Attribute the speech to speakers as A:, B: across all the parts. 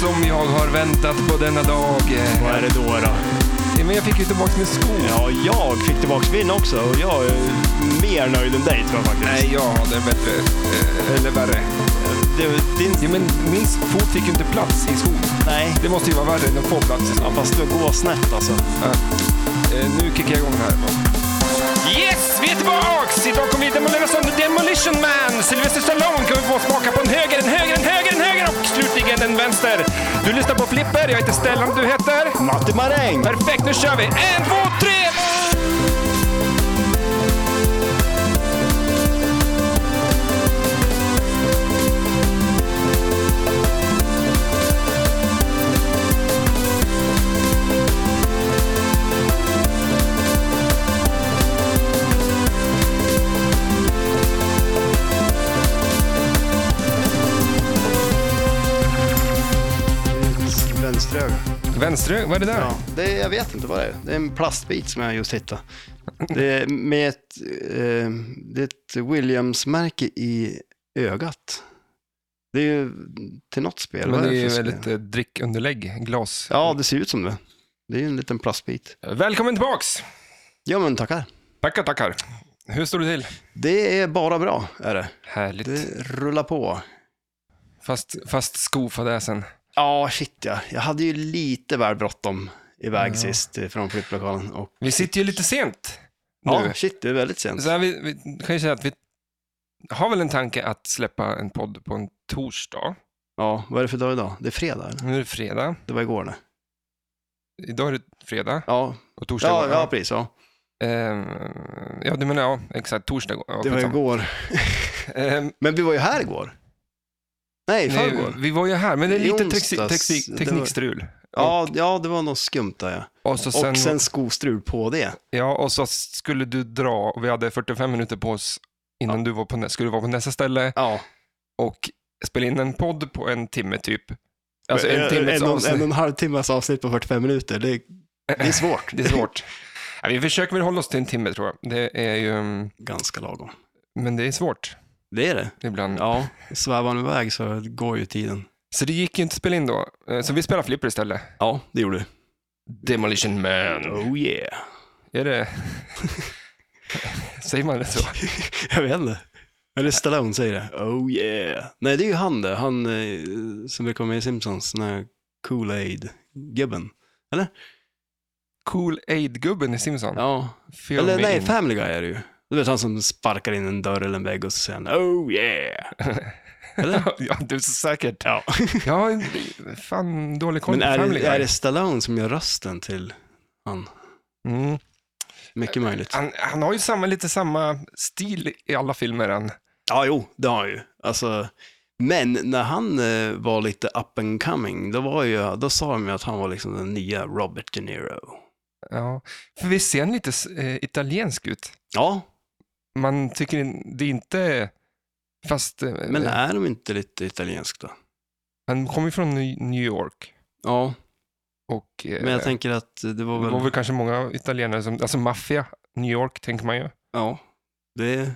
A: som jag har väntat på denna dag.
B: Vad är det då? då?
A: Ja, Men jag fick ju tillbaka min sko.
B: Ja, jag fick tillbaka min också och jag är mer nöjd än dig tror jag faktiskt.
A: Nej, jag hade bättre. eh, Eller värre.
B: Det- din...
A: Ja, men min fot fick ju inte plats i skon.
B: Nej.
A: Det måste ju vara värre än att få plats i skon.
B: Ja, fast du går snett alltså.
A: Ja. Eh, Nu kickar jag igång här. Yes, vi är tillbaks! Idag kommer vi demolera sönder Demolition Man. Sylvester Stallone kommer få smaka på en höger, en höger, en höger, en höger och slutligen en vänster. Du lyssnar på Flipper, jag heter Stellan, du heter?
B: Matte Maräng!
A: Perfekt, nu kör vi! En, två, tre!
B: Vänsteröga.
A: Vänster, vad är det där?
B: Ja, det, jag vet inte vad det är. Det är en plastbit som jag just hittade. Det är med ett, eh, det är ett Williams-märke i ögat. Det är ju till något spel.
A: Men det
B: Vad
A: är
B: för
A: ju
B: spel?
A: väldigt eh, drickunderlägg, glas.
B: Ja, det ser ut som det. Det är ju en liten plastbit.
A: Välkommen tillbaks!
B: Ja, men tackar.
A: Tackar, tackar. Hur står det till?
B: Det är bara bra, är det.
A: Härligt.
B: Det rullar på.
A: Fast, fast skofadäsen.
B: Ja, shit ja. Jag hade ju lite väl bråttom iväg sist eh, från flipplokalen. Och,
A: Vi sitter ju lite sent nu.
B: ja, shit, det är väldigt sent.
A: Så här, vi, vi kan ju säga att vi har väl en tanke att släppa en podd på en torsdag.
B: Ja, vad är det för dag idag? Det är fredag. eller?
A: Nu är det fredag.
B: Det var igår, det.
A: Idag är det fredag
B: Ja,
A: och torsdag
B: ja,
A: var-
B: ja precis. Ja.
A: Ehm, ja, du menar ja, exakt. Torsdag går. Ja,
B: Det var
A: skitsamma.
B: igår.
A: Ehm,
B: Men vi var ju här igår. Nej, i
A: nej,
B: förrgår.
A: vi var ju här, men det är
B: I
A: lite
B: onsdags,
A: texi-
B: det
A: texi-
B: var-
A: teknikstrul.
B: Ja, ja, det var något skumt där ja.
A: Och, så sen,
B: Och sen skostrul på det.
A: ja, och så skulle du dra och vi hade 45 minuter på oss innan du var på, nä- skulle vara på nästa ställe
B: Ja,
A: och spela in en podd på en timme typ. Alltså
B: Eh,
A: en timmes
B: en, och-
A: avsnitt.
B: en och en halv timmes avsnitt på 45 minuter. Det, det är svårt.
A: Det är svårt. Ja, vi försöker väl hålla oss till en timme tror jag. Det är ju, mm,
B: Ganska lagom.
A: men det är svårt
B: Det är det.
A: ibland.
B: Ja, svävar man iväg så går ju tiden.
A: Så det gick ju inte att spela in då. Eh, Så vi spelar flipper istället.
B: Ja, det gjorde du.
A: Demolition Man.
B: Oh yeah.
A: Är det... Säger man det så?
B: Jag vet inte. Eller Stallone säger det. Oh yeah. Nej, det är ju han det. Han eh, som brukar vara med i Simpsons. Den här Kool-Aid-gubben.
A: Cool Aid-gubben i Simpson.
B: Ja,
A: Fill
B: Eller
A: me
B: nej,
A: in.
B: Family Guy är det ju. Du vet han som sparkar in en dörr eller en vägg och så säger han oh yeah. Eller?
A: ja, du är så säkert.
B: Ja.
A: Jag har fan dålig koll
B: Men
A: på
B: är
A: Family
B: det, är
A: Guy.
B: det Stallone som gör rösten till han?
A: Mm.
B: Mycket möjligt.
A: Han, han har ju samma, lite samma stil i alla filmer. Han.
B: Ja, jo, det har han ju. Alltså, men när han eh, var lite up and coming, då, var ju, då sa de ju att han var liksom den nya Robert De Niro.
A: Ja. För vi ser han lite eh, italiensk ut.
B: Ja,
A: man tycker in, det är inte... Fast eh,
B: men är de inte lite italiensk då?
A: han kommer ju från Ny- New York.
B: Ja,
A: Och, eh,
B: men jag tänker att det var
A: det var
B: väl...
A: väl kanske många italienare som... Alltså maffia, New York tänker man ju.
B: Ja, det...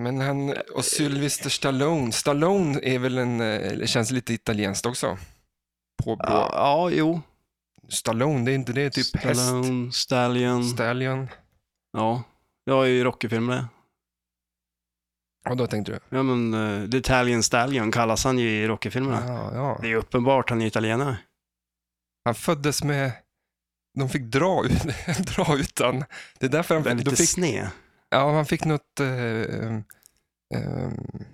A: Men
B: Eh,
A: han... Och Sylvester Stallone. Stallone är väl en... eh, känns lite italienskt också. På på-
B: Ja, ja jo.
A: Stallone, det är inte det typ häst?
B: Stallone, Stallion.
A: Stallion?
B: Ja, det var ju Rocky-filmer det.
A: Ja, då tänkte du.
B: Ja, men eh, The Italian Stallion kallas han ju i Rocky-filmerna.
A: Ja, ja.
B: Det är uppenbart han är italienare.
A: Han föddes med... De fick dra ut, dra ut han. Det är därför han,
B: Väldigt
A: de
B: lite
A: fick
B: sned.
A: Ja, han fick något... eh, ehm, ehm,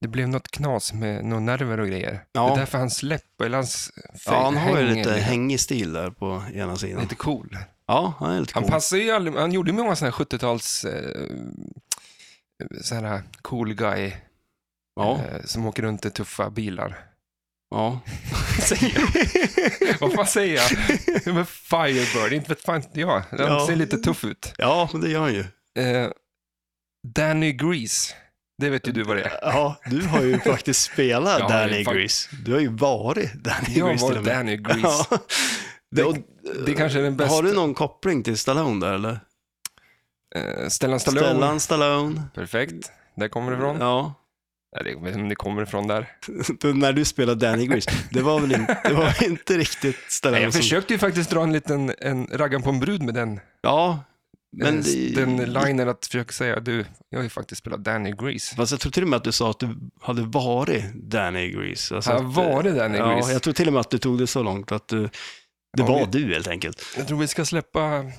A: det blev något knas med några nerver och grejer.
B: Ja.
A: Det är därför hans läpp, eller hans
B: Ja, han har ju
A: hänger
B: lite hängig stil där på ena sidan.
A: lite cool.
B: Ja, han är lite
A: Han
B: cool.
A: passar ju aldrig, han gjorde ju många sådana här 70-tals eh, sådana här cool guy
B: ja,
A: eh, som åker runt i tuffa bilar.
B: ja.
A: Vad fan säger jag? Ja, Men Firebird, inte vet fan inte jag. Han
B: Ja.
A: ser lite tuff ut.
B: ja, men det gör han ju.
A: Eh, Danny Grease, det vet ju du vad det är.
B: Ja, du har ju faktiskt spelat
A: Jag har ju
B: Danny
A: fakt-
B: Grease. Du har ju varit Danny
A: Jag
B: Grease
A: var
B: till och med.
A: Danny Grease.
B: Ja. Det, och, eh,
A: Det kanske är den bästa.
B: har du någon koppling till Stallone där eller?
A: Eh, Stellan Stallone.
B: Stellan Stallone.
A: Perfekt. Där kommer det ifrån.
B: Ja.
A: Ja, det, men det kommer ifrån där.
B: När du spelade Danny Grease, det var väl in, det var inte riktigt
A: Nej, jag
B: Stallone
A: försökte ju faktiskt dra en liten en raggan på en brud med den,
B: Ja, men...
A: den,
B: det-
A: Eh, den linen att försöka säga du, jag har ju faktiskt spelat Danny Grease.
B: Fast jag tror till och med att du sa att du hade varit Danny Grease. Alltså
A: Så jag
B: att-
A: har varit Danny
B: Ja,
A: Grease.
B: jag
A: Jag...
B: tror till och med att du tog det så långt att du, det
A: Ja,
B: var
A: vi-
B: du helt enkelt.
A: tror vi ska släppa den,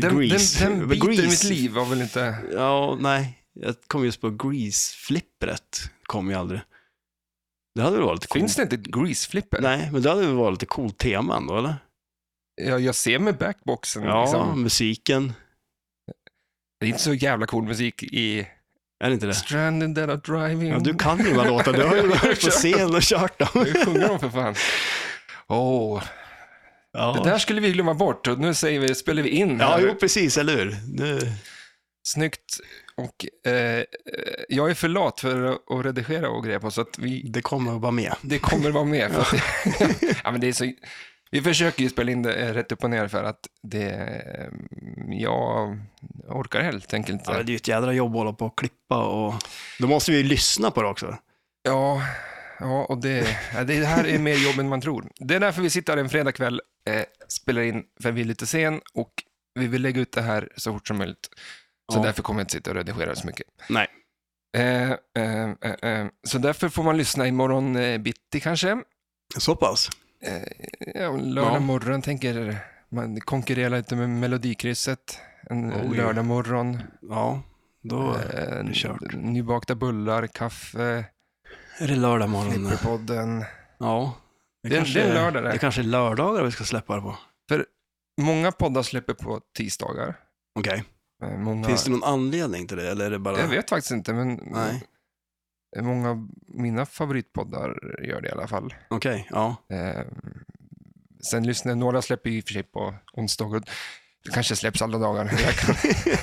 A: den,
B: Grease.
A: den biten
B: Grease.
A: i mitt liv var väl inte...
B: Ja, nej. Jag kom just på Grease-flippret. kom ju aldrig. Det hade väl varit coolt.
A: Finns det inte ett Grease-flipper?
B: Nej, men det hade väl varit lite coolt tema ändå, eller?
A: Jag, jag ser med backboxen.
B: Ja,
A: Liksom.
B: musiken.
A: Det är inte så jävla cool musik i
B: Är det inte det?
A: Stranded that are driving.
B: Ja, du kan ju bara låta. Du har ju varit på scen och kört dem.
A: Jag sjunger dem för fan. Åh,
B: Ja,
A: det där skulle vi glömma bort och nu säger vi, spelar vi in
B: ja
A: här.
B: jo, precis, eller hur? Nu...
A: Snyggt. Och, eh, eh, jag är för lat för att- att redigera och grejer på så att vi,
B: Det kommer att vara med.
A: det kommer vara med. För att, ja, men det är så, vi försöker ju spela in det eh, rätt upp och ner för att det, eh, jag orkar helt enkelt
B: Ja, men
A: inte.
B: det är ju ett jädra jobb att hålla på och klippa och... Då måste vi ju lyssna på det också.
A: Ja, ja och det, ja, det här är mer jobb än man tror. Det är därför vi sitter här en fredagkväll, eh, spelar in för vi är lite sen och vi vill lägga ut det här så fort som möjligt. Så
B: Ja.
A: därför kommer jag inte sitta och redigera så mycket.
B: Nej.
A: Eh, eh, eh, eh. Så därför får man lyssna imorgon eh, bitti kanske.
B: Så pass?
A: Eh, ja, lördag
B: Ja.
A: morgon tänker man konkurrerar lite med Melodikrysset. En
B: Oj.
A: lördag morgon.
B: Ja, då
A: Eh,
B: det kört.
A: n- nybakta bullar, kaffe,
B: är det lördag morgon.
A: flipperpodden.
B: Ja.
A: Det är- det är en lördag det.
B: det kanske är lördagar vi ska släppa det på.
A: Många poddar släpper på tisdagar.
B: Okej.
A: Eh, Många,
B: Finns det någon anledning till det eller är det bara...
A: Jag vet faktiskt inte, men eh,
B: Nej.
A: många av mina favoritpoddar gör det i alla fall.
B: Okej, ja.
A: Eh, sen lyssnar några släpper ju i och för sig på onsdagar. Det kanske släpps alla dagar. Jag kan,
B: ja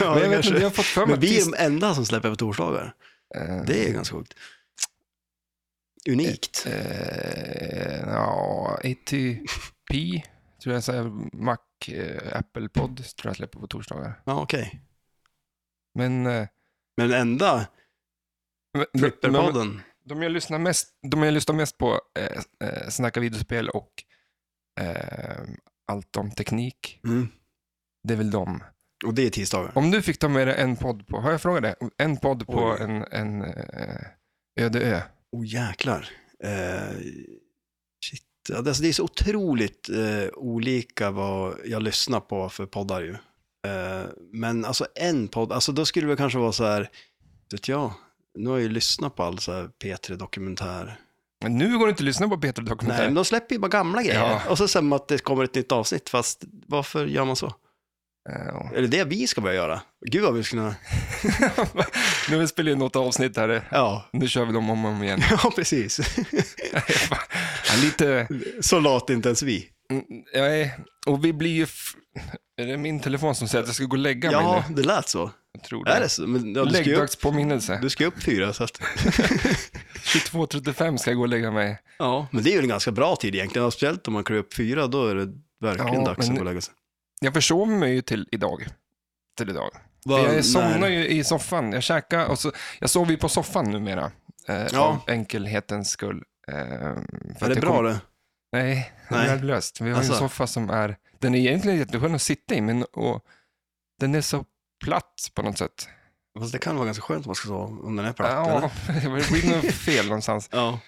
A: men jag vet
B: kanske.
A: inte, jag har fått för mig
B: Men
A: att
B: vi är
A: tis-
B: de enda som släpper på torsdagar.
A: eh,
B: Det är ganska sjukt. Unikt.
A: Ehm, eh, Ja, ATP, tror jag säger, Mac, eh, Apple-podd tror jag släpper på torsdagar.
B: Ja, okej.
A: Men, eh,
B: Men enda
A: men- men
B: flipperpodden.
A: de jag lyssnar mest, de jag lyssnar mest på eh, eh, Snacka videospel och eh, Allt om teknik.
B: Mm.
A: Det är väl de.
B: Och det är tisdagar.
A: Om du fick ta med dig en podd på, har jag frågat det? En podd på
B: Oj.
A: en, en eh, öde ö.
B: Åh oh, jäklar. Eh, shit. Ja, det- Alltså, det är så otroligt eh, olika vad jag lyssnar på för poddar ju. Eh, men alltså en podd, alltså då skulle det kanske vara så här, vet jag, nu har jag ju lyssnat på all så här P3 Dokumentär.
A: Men nu går det inte att lyssna på Peter
B: Nej, men
A: Dokumentär.
B: de släpper ju bara gamla grejer.
A: Ja.
B: Och så säger man att det kommer ett nytt avsnitt, fast varför gör man så?
A: Eh,
B: Är det det vi ska börja göra? Gud vad vi skulle kunna...
A: nu har vi spelat in något avsnitt här.
B: Ja,
A: Nu kör vi dem om och om igen.
B: ja precis.
A: Ja, Lite,
B: så lat inte ens vi.
A: mm, jag är, och vi blir ju, f- är det min telefon som säger att jag ska gå och lägga mig
B: Ja,
A: nu?
B: det lät så.
A: Jag tror
B: Är
A: det.
B: det så? Men, ja, du, ska ju upp,
A: Läggdagspåminnelse.
B: du ska ju upp fyra, så att...
A: 22.35 ska jag gå och lägga mig.
B: Ja, men det är ju en ganska bra tid egentligen. Och Speciellt om man klär upp fyra, då är det verkligen
A: Ja,
B: dags
A: men-
B: att gå och lägga sig.
A: Jag försov mig ju till idag. Till idag. För jag somnar ju i soffan. Jag käkar och så, jag sover ju på soffan numera. Eh,
B: Ja.
A: Av enkelhetens skull. Eh,
B: Är det bra det?
A: Nej,
B: Nej.
A: värdelöst. Vi har ju en
B: Alltså.
A: soffa som är, den är egentligen jätteskön att sitta i, men och, den är så platt på något sätt.
B: Fast det kan vara ganska skönt om man ska sova, om den är platt. eller?
A: ja, det blir nog fel någonstans.
B: ja.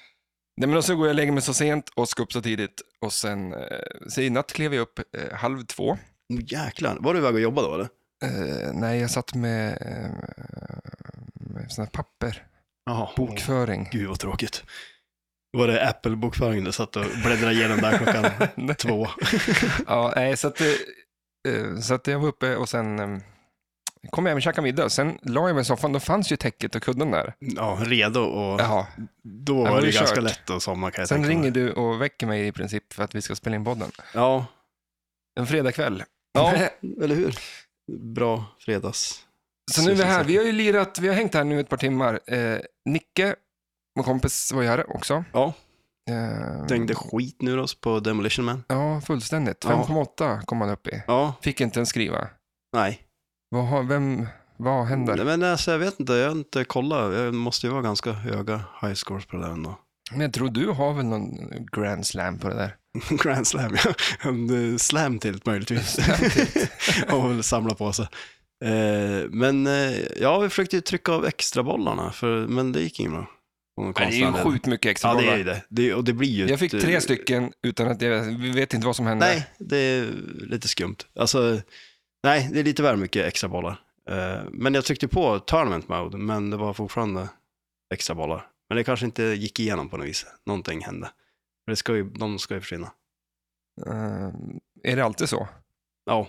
A: Nej, men och så går jag och lägger mig så sent och ska upp så tidigt och sen, eh, så i natt klev jag upp eh, halv två.
B: Men Mm, Jäklar, var du iväg och jobbade då eller?
A: Eh, nej, jag satt med, eh, med såna här papper,
B: Jaha.
A: Mm. bokföring.
B: Gud vad tråkigt. Var det Apple-bokföringen du satt och bläddrade igenom där klockan
A: Nej.
B: två?
A: Ja, nej, så att, eh, eh, så att jag var uppe och sen eh, kom jag hem och käkade middag. Sen la jag mig i soffan, då fanns ju täcket och kudden där.
B: Ja, redo och
A: Jaha.
B: då
A: men
B: var
A: det
B: det
A: är
B: ganska
A: kört.
B: lätt att somna kan jag
A: Sen
B: tänka mig.
A: ringer du och väcker mig i princip för att vi ska spela in podden.
B: Ja.
A: En fredagkväll.
B: ja, eller hur? Bra fredags.
A: Så nu är vi här. Vi har ju lirat, vi har hängt här nu ett par timmar. Eh, Nicke, vår kompis, var ju här också.
B: Ja.
A: Eh,
B: Tänkte skit nu oss på Demolition Man.
A: Ja, fullständigt.
B: Ja.
A: 5,8 kom han upp i.
B: Ja,
A: Fick inte ens skriva.
B: nej.
A: Vad har, vem, Vad händer?
B: Nej, men alltså, jag vet inte, jag har inte kollat. Jag måste ju vara ganska höga high scores på det där ändå.
A: Men jag tror du har väl någon grand slam på det där?
B: Grand slam, ja. En eh, slam tilt möjligtvis. och väl samla på sig. Eh, men eh, ja, vi försökte ju trycka av extra bollarna, för, men det gick inget bra. Av någon
A: Det är ju
B: konstig anledning.
A: sjukt mycket extra
B: Ja, det är
A: bollar.
B: ju det. det. Och det blir ju
A: Jag fick
B: ett,
A: tre
B: eh,
A: stycken utan att jag vi vet inte vad som hände.
B: Nej, det är lite skumt. Alltså, nej, det är lite väl mycket extra bollar. Eh, Men jag tryckte på tournament mode, men det var fortfarande extra bollar. Men det kanske inte gick igenom på något vis. Någonting hände. För det ska ju, de ska ju försvinna.
A: Eh, är det alltid så?
B: Ja,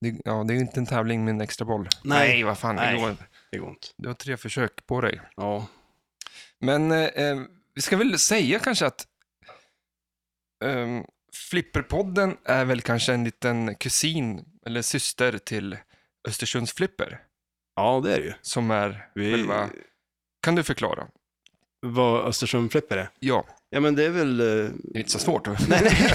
A: Det, ja, det är ju inte en tävling med en extra boll.
B: Nej.
A: vad fan.
B: Nej.
A: Det går, inte.
B: det går inte.
A: du har tre försök på dig.
B: Ja,
A: Men eh, eh, vi ska väl säga kanske att ehm, Flipperpodden är väl kanske en liten kusin eller syster till Östersunds Flipper.
B: ja det är det ju.
A: Som är
B: Vi,
A: själva... Kan du förklara?
B: vad Östersund flipper är?
A: Ja,
B: Ja, men det är väl... eh,
A: det är inte så svårt.
B: Nej, nej.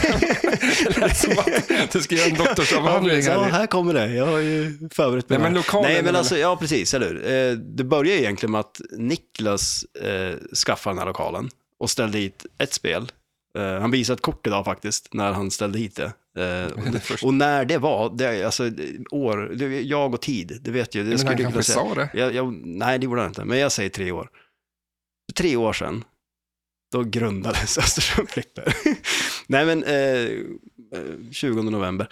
A: Det lät som att du ska göra en doktorsavhandling
B: Ja,
A: här.
B: här kommer det. Jag har ju förberett mig.
A: Nej, men lokalen...
B: Nej, men alltså, ja precis, eller hur? Eh, Det började egentligen med att Niklas eh, skaffade den här lokalen och ställde hit ett spel. Eh, han visade ett kort idag faktiskt, när han ställde hit det. Eh, och,
A: Det första.
B: och när det var, det, alltså det- år, det, jag och tid, det vet ju. Det
A: Men
B: skulle
A: han
B: jag kunna
A: kanske
B: säga.
A: sa det.
B: Jag, jag, nej, det gjorde han inte, men jag säger tre år. För tre år sedan, då grundades Östersund Flipper. nej, men eh, eh, 20 november.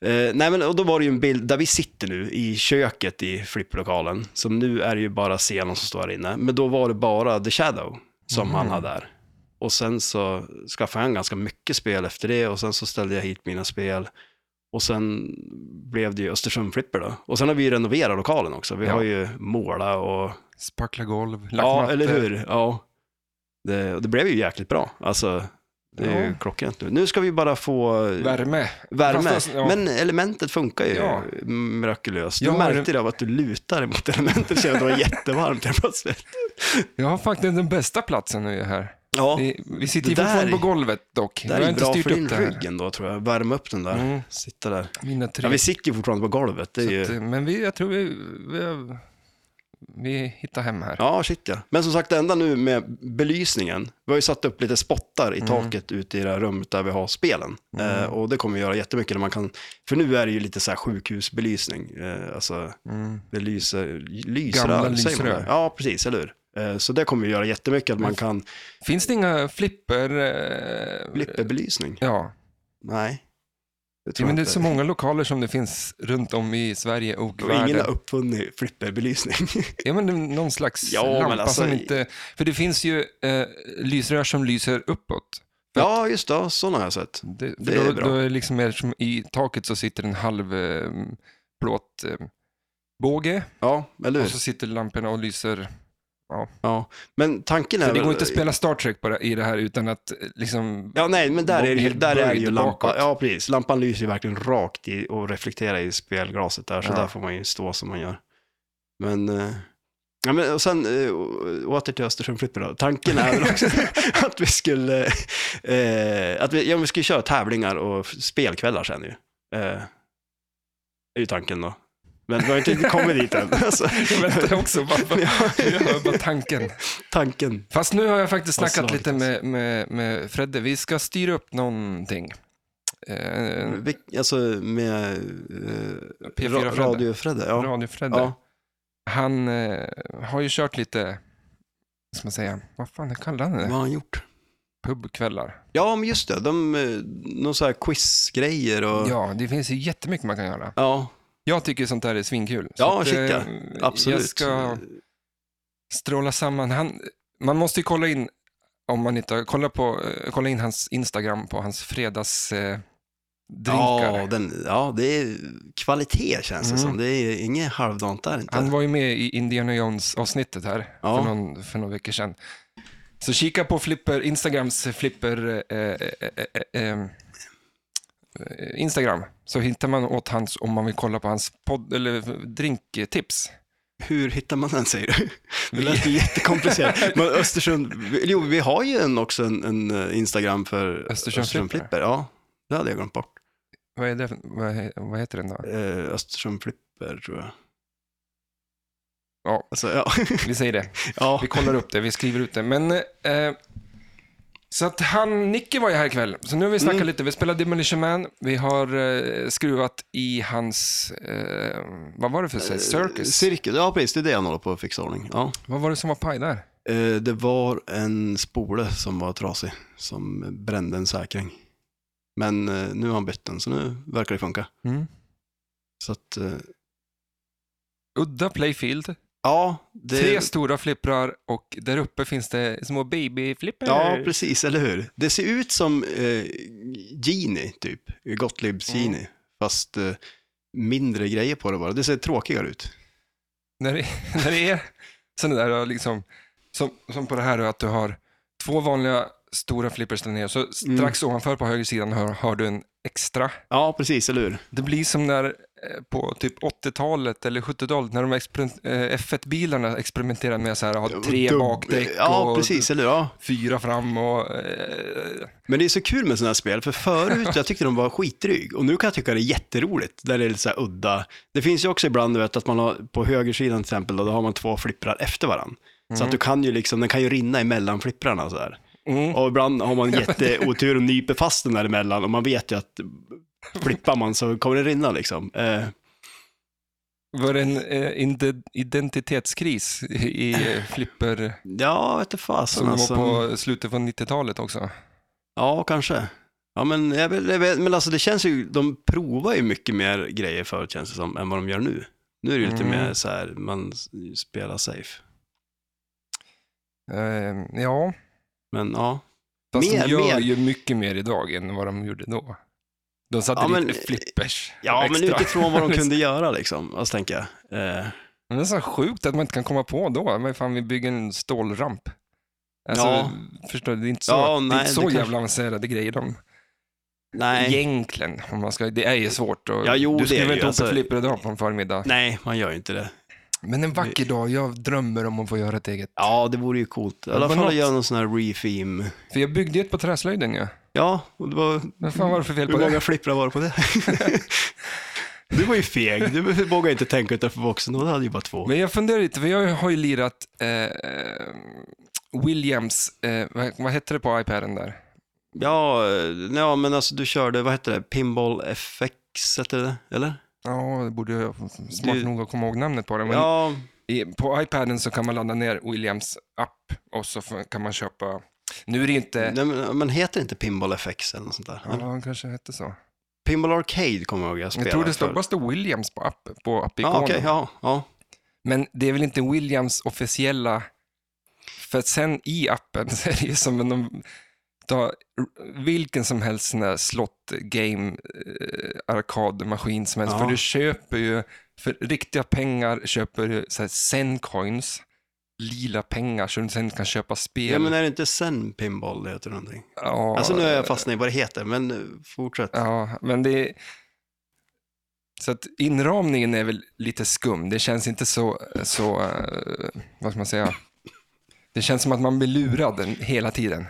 B: Eh, nej, men och då var det ju en bild där vi sitter nu i köket i flipplokalen. Så nu är det ju bara scenen som står här inne. Men då var det bara The Shadow som
A: Mhm.
B: han hade där. Och sen så skaffade han ganska mycket spel efter det och sen så ställde jag hit mina spel. Och sen blev det ju Östersund Flipper då. Och sen har vi ju renoverat lokalen också. Vi
A: Ja.
B: har ju målat och
A: Spackla golv, lagt
B: Ja,
A: mattor.
B: eller hur? Ja. Det, och det blev ju jäkligt bra. Alltså, det är ju
A: Ja.
B: klockrent nu. Nu ska vi bara få eh,
A: Värme.
B: värme.
A: Fast, ja.
B: Men elementet funkar ju
A: Ja.
B: mirakulöst. Du
A: Ja,
B: märkte det av att du lutar mot elementet, kände att det var jättevarmt helt plötsligt.
A: Jag har faktiskt den bästa platsen nu här.
B: Ja,
A: Vi, vi sitter
B: Det
A: ju
B: där
A: fortfarande
B: är-
A: på golvet dock.
B: det
A: Vi
B: här
A: har
B: är
A: inte
B: bra
A: styrt
B: för
A: upp
B: din
A: det här.
B: rygg ändå tror jag. Värma upp den där.
A: Mm,
B: Sitta där.
A: mina tre.
B: Ja, vi sitter ju fortfarande på golvet. Det är
A: Så
B: ju...
A: att, eh, men vi, jag tror vi, vi, har- vi hittar hem här.
B: Ja, shit ja. Men som sagt, det enda nu med belysningen. Vi har ju satt upp lite spottar
A: Mm.
B: i taket ute i det här rummet där vi har spelen. Eh, och det kommer vi göra jättemycket. När man kan, för nu är det ju lite så här sjukhusbelysning. Eh, alltså,
A: Mm.
B: det lyser, lyser
A: Gamla
B: över, säger man
A: lysrör.
B: det? Ja, precis, eller hur? Eh, så det kommer vi göra jättemycket, att man kan
A: Finns det inga flipper? Eh,
B: blippa belysning.
A: Ja,
B: Nej, det tror
A: ja
B: jag
A: men det är
B: inte.
A: så många lokaler som det finns runt om i Sverige och,
B: Och
A: världen.
B: ingen har uppfunnit flipperbelysning.
A: Ja, men det är någon slags
B: Ja, men
A: lampa
B: alltså-
A: som inte... För det finns ju eh, lysrör som lyser uppåt.
B: ja, just det. Sådana har jag sett.
A: Det,
B: Det
A: för
B: är
A: då,
B: bra.
A: Då är det liksom, eftersom i taket så sitter en halv eh, plåtbåge eh, båge,
B: Ja, eller
A: och
B: hur?
A: så sitter lamporna och lyser.
B: Ja. Men tanken är
A: För det
B: väl-
A: går inte att spela Star Trek på det, i det här utan att eh, liksom...
B: Ja, nej, men där är det ju,
A: Helt
B: där är det
A: böjd
B: ju lampan.
A: bakåt.
B: Ja, precis. Lampan lyser ju verkligen rakt i och reflekterar i spelglaset där, så
A: Ja.
B: där får man ju stå som man gör. Men, eh, ja, men och sen eh, å- åter till Östersund Flipper då. Tanken är väl också att vi skulle, eh, att vi, ja, men vi skulle köra tävlingar och f- spelkvällar sen ju. Eh, är ju tanken då. Men vi har inte riktigt kommit dit än. Alltså,
A: Jag väntar också, bara, bara,
B: Ja.
A: jag hör bara tanken.
B: tanken.
A: Fast nu har jag faktiskt
B: Vad
A: snackat
B: slagit
A: lite med, med, med Fredde. Vi ska styra upp någonting. Eh,
B: Vil- Alltså med eh,
A: P4
B: ra-
A: Fredde.
B: Radio-Fredde. Ja.
A: Radio-Fredde.
B: Ja.
A: Han eh, har ju kört lite, vad ska man säga, vad fan kallar han
B: Vad
A: det?
B: har han gjort?
A: Pubkvällar.
B: Ja, men just det. De, eh, någon så här quizgrejer och...
A: Ja, det finns ju jättemycket man kan göra.
B: Ja,
A: Jag tycker sånt där är svinkul.
B: Ja,
A: Så att,
B: shit, ja.
A: eh,
B: absolut.
A: Jag ska stråla samman. Han, man måste ju kolla in, om man inte har- kolla, på, eh, kolla in hans Instagram på hans eh, fredagsdrinkar.
B: ja, den, ja, det är kvalitet känns det
A: Mm.
B: som. Det är inget halvdant där inte.
A: Han var ju med i Indiana Jones-avsnittet här
B: Ja.
A: för, någon, för några veckor sedan. Så kika på Flipper, Instagrams Flipper eh, eh, eh, eh, eh, eh, Instagram så hittar man åt hans om man vill kolla på hans podd, eller drinktips.
B: Hur hittar man den säger du? Det lät ju jättekomplicerat. Men Östersund, jo vi har ju en, också en, en eh, Instagram för
A: Östersund Flipper.
B: Flipper. Ja, det hade jag glömt bort.
A: Vad, är det, för- vad, he- vad heter den då?
B: Eh, Östersund Flipper tror jag.
A: Ja,
B: Alltså, ja.
A: vi säger det.
B: ja.
A: Vi kollar upp det, vi skriver ut det. Men, eh, så att han, Nicky var ju här ikväll. Så nu har vi snackat lite, vi spelar Demolition Man, vi har eh, skruvat i hans, eh, vad var det för sig? Circus?
B: Eh, Cirkus, ja precis, det är det han håller på att fixa ordning. Ja.
A: vad var det som var paj där?
B: Eh, Det var en spole som var trasig, som brände en säkring. Men eh, nu har han bytt den, så nu verkar det funka.
A: Mm.
B: Så att, eh,
A: Udda playfield,
B: ja. Det...
A: tre stora flipprar och där uppe finns det små babyflipprar.
B: Ja, precis, eller hur? Det ser ut som eh, Genie, typ. Gottliebs
A: Mm.
B: Genie. Fast eh, mindre grejer på det bara. Det ser tråkigare ut.
A: När det, när det är sådana där, då liksom, som, som på det här då, att du har två vanliga stora flippers där nere, så
B: Mm.
A: strax ovanför på höger sidan har, har du en extra.
B: Ja, precis, eller hur?
A: Det blir som när eh, på typ 80-talet eller 70-talet när de exper- eh, F1-bilarna experimenterade med så här, att ha tre
B: Dubb-
A: bakdäck
B: Ja,
A: och
B: precis, eller hur? Ja.
A: fyra fram och... Eh,
B: Men det är så kul med sådana här spel, för förut jag tyckte de var skitdryg och nu kan jag tycka det är jätteroligt, där det är lite så här udda. Det finns ju också ibland du vet, att man har, på högersidan till exempel, då, då har man två flipprar efter varandra. Så att du kan ju liksom, den kan ju rinna emellan flipprarna så här.
A: mm.
B: Och ibland har man jätteotur och nyper fast den där emellan och man vet ju att flippar man så kommer det rinna liksom. Eh,
A: Var det en eh, inde- identitetskris i eh, flipper
B: ja, vete fasen
A: som
B: alltså.
A: var på slutet av 90-talet också?
B: Ja, kanske. Ja, men, jag vet, jag vet, men alltså det känns ju, de provar ju mycket mer grejer förut känns det som, än vad de gör nu. Nu är det ju lite
A: Mm.
B: mer så här, man s- spelar safe.
A: Eh, ja,
B: Men ja,
A: fast
B: Mer,
A: de gör
B: mer.
A: ju mycket mer idag än vad de gjorde då. De satte
B: Ja, men-
A: lite flippers
B: ja men
A: extra.
B: utifrån vad de kunde göra liksom, alltså tänker jag. Eh,
A: Men Det är så sjukt att man inte kan komma på då. Men fan, vi bygger en stålramp. Alltså,
B: Ja.
A: förstår du? Det är inte så,
B: Ja,
A: det är
B: nej,
A: inte så
B: det kanske-
A: jävla avancerade grejer de,
B: nej,
A: egentligen. Om man ska, det är ju svårt. Och
B: Ja, jo, det
A: du
B: är
A: skulle
B: det
A: väl
B: ju,
A: inte
B: alltså.
A: alltså... flipper idag på en förmiddag.
B: nej, man gör ju inte det.
A: Men en vacker dag, jag drömmer om att få göra ett eget.
B: Ja, det vore ju coolt. I
A: Det
B: alla
A: var
B: fall att
A: något.
B: göra någon sån här refeme.
A: För jag byggde ju ett på träslöjden ju.
B: Ja, och det var,
A: Vad fan var det för fel på
B: Mm. hur många
A: det?
B: flipprar var det på det? du var ju feg, du vågade inte tänka utanför boxen, då hade ju bara två.
A: Men jag funderar lite, för jag har ju lirat eh, Williams, eh, vad, vad hette det på iPaden där?
B: Ja, eh, ja, men alltså du körde, vad hette det, Pinball FX, hette det, eller?
A: Ja, det borde jag smart
B: Du-
A: nog att komma ihåg namnet på det. Men
B: Ja,
A: I, på iPaden så kan man ladda ner Williams app och så f- kan man köpa... Nu är det inte...
B: nej, men, men heter det inte Pinball FX eller något sånt där?
A: Eh. Ja, han kanske hette så.
B: Pinball Arcade kommer jag ihåg jag spelade
A: Jag tror det stod,
B: förut.
A: bara stod Williams på, app, på appikonen.
B: Ja, okej, ja, ja.
A: Men det är väl inte Williams officiella... För att sen i appen så är det ju som om de tar vilken som helst sån här slott game eh, arkadmaskin som helst.
B: Ja.
A: För du köper ju, för riktiga pengar köper du så här Zencoins, lila pengar, så du sen kan köpa spel.
B: ja, men är det inte Zen Pinball det heter någonting?
A: Ja, eh,
B: Alltså nu är jag fastnat i vad det heter, men eh, fortsätt.
A: Ja, men det... Så att inramningen är väl lite skum. Det känns inte så, så eh, vad ska man säga? Det känns som att man blir lurad en- hela tiden.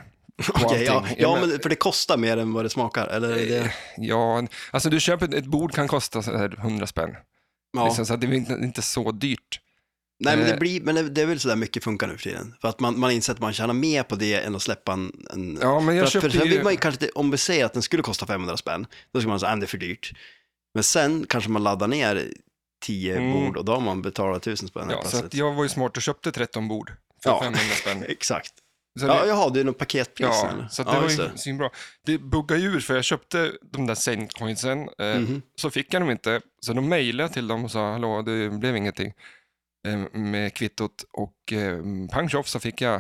A: på
B: Okej, ja,
A: allting. Eh,
B: ja, men för det kostar mer än vad det smakar, eller? Är det...
A: ja, alltså du köper ett- ett bord kan kosta så här 100 spänn.
B: Ja.
A: Liksom, så att det är inte, inte så dyrt.
B: Nej, men det,
A: eh.
B: blir, men det- det är väl sådär mycket funkar nu för tiden. För att man, man inser att man tjänar mer på det än att släppa en, en
A: Ja, men
B: För,
A: jag
B: att, för
A: köpte
B: sen vill
A: ju...
B: man ju kanske inte, om vi säger att den skulle kosta 500 spänn, då skulle man säga att det är för dyrt. Men sen kanske man laddar ner 10
A: Mm.
B: bord och då har man betalat 1000 spänn
A: Ja,
B: helt
A: så
B: plötsligt.
A: att jag var ju smart och köpte 13 bord för
B: Ja.
A: 500 spänn.
B: Exakt.
A: Så det-
B: Ja, jaha, det är något paketpris.
A: Ja,
B: eller?
A: så att
B: ja,
A: det var
B: just
A: ju svinbra. Det buggade ur för jag köpte de där Saint-coinsen, eh,
B: Mhm.
A: så fick jag dem inte. Så då mejlade jag till dem och sa, hallå, det blev ingenting eh, med kvittot. Och eh, pang tjoff så fick jag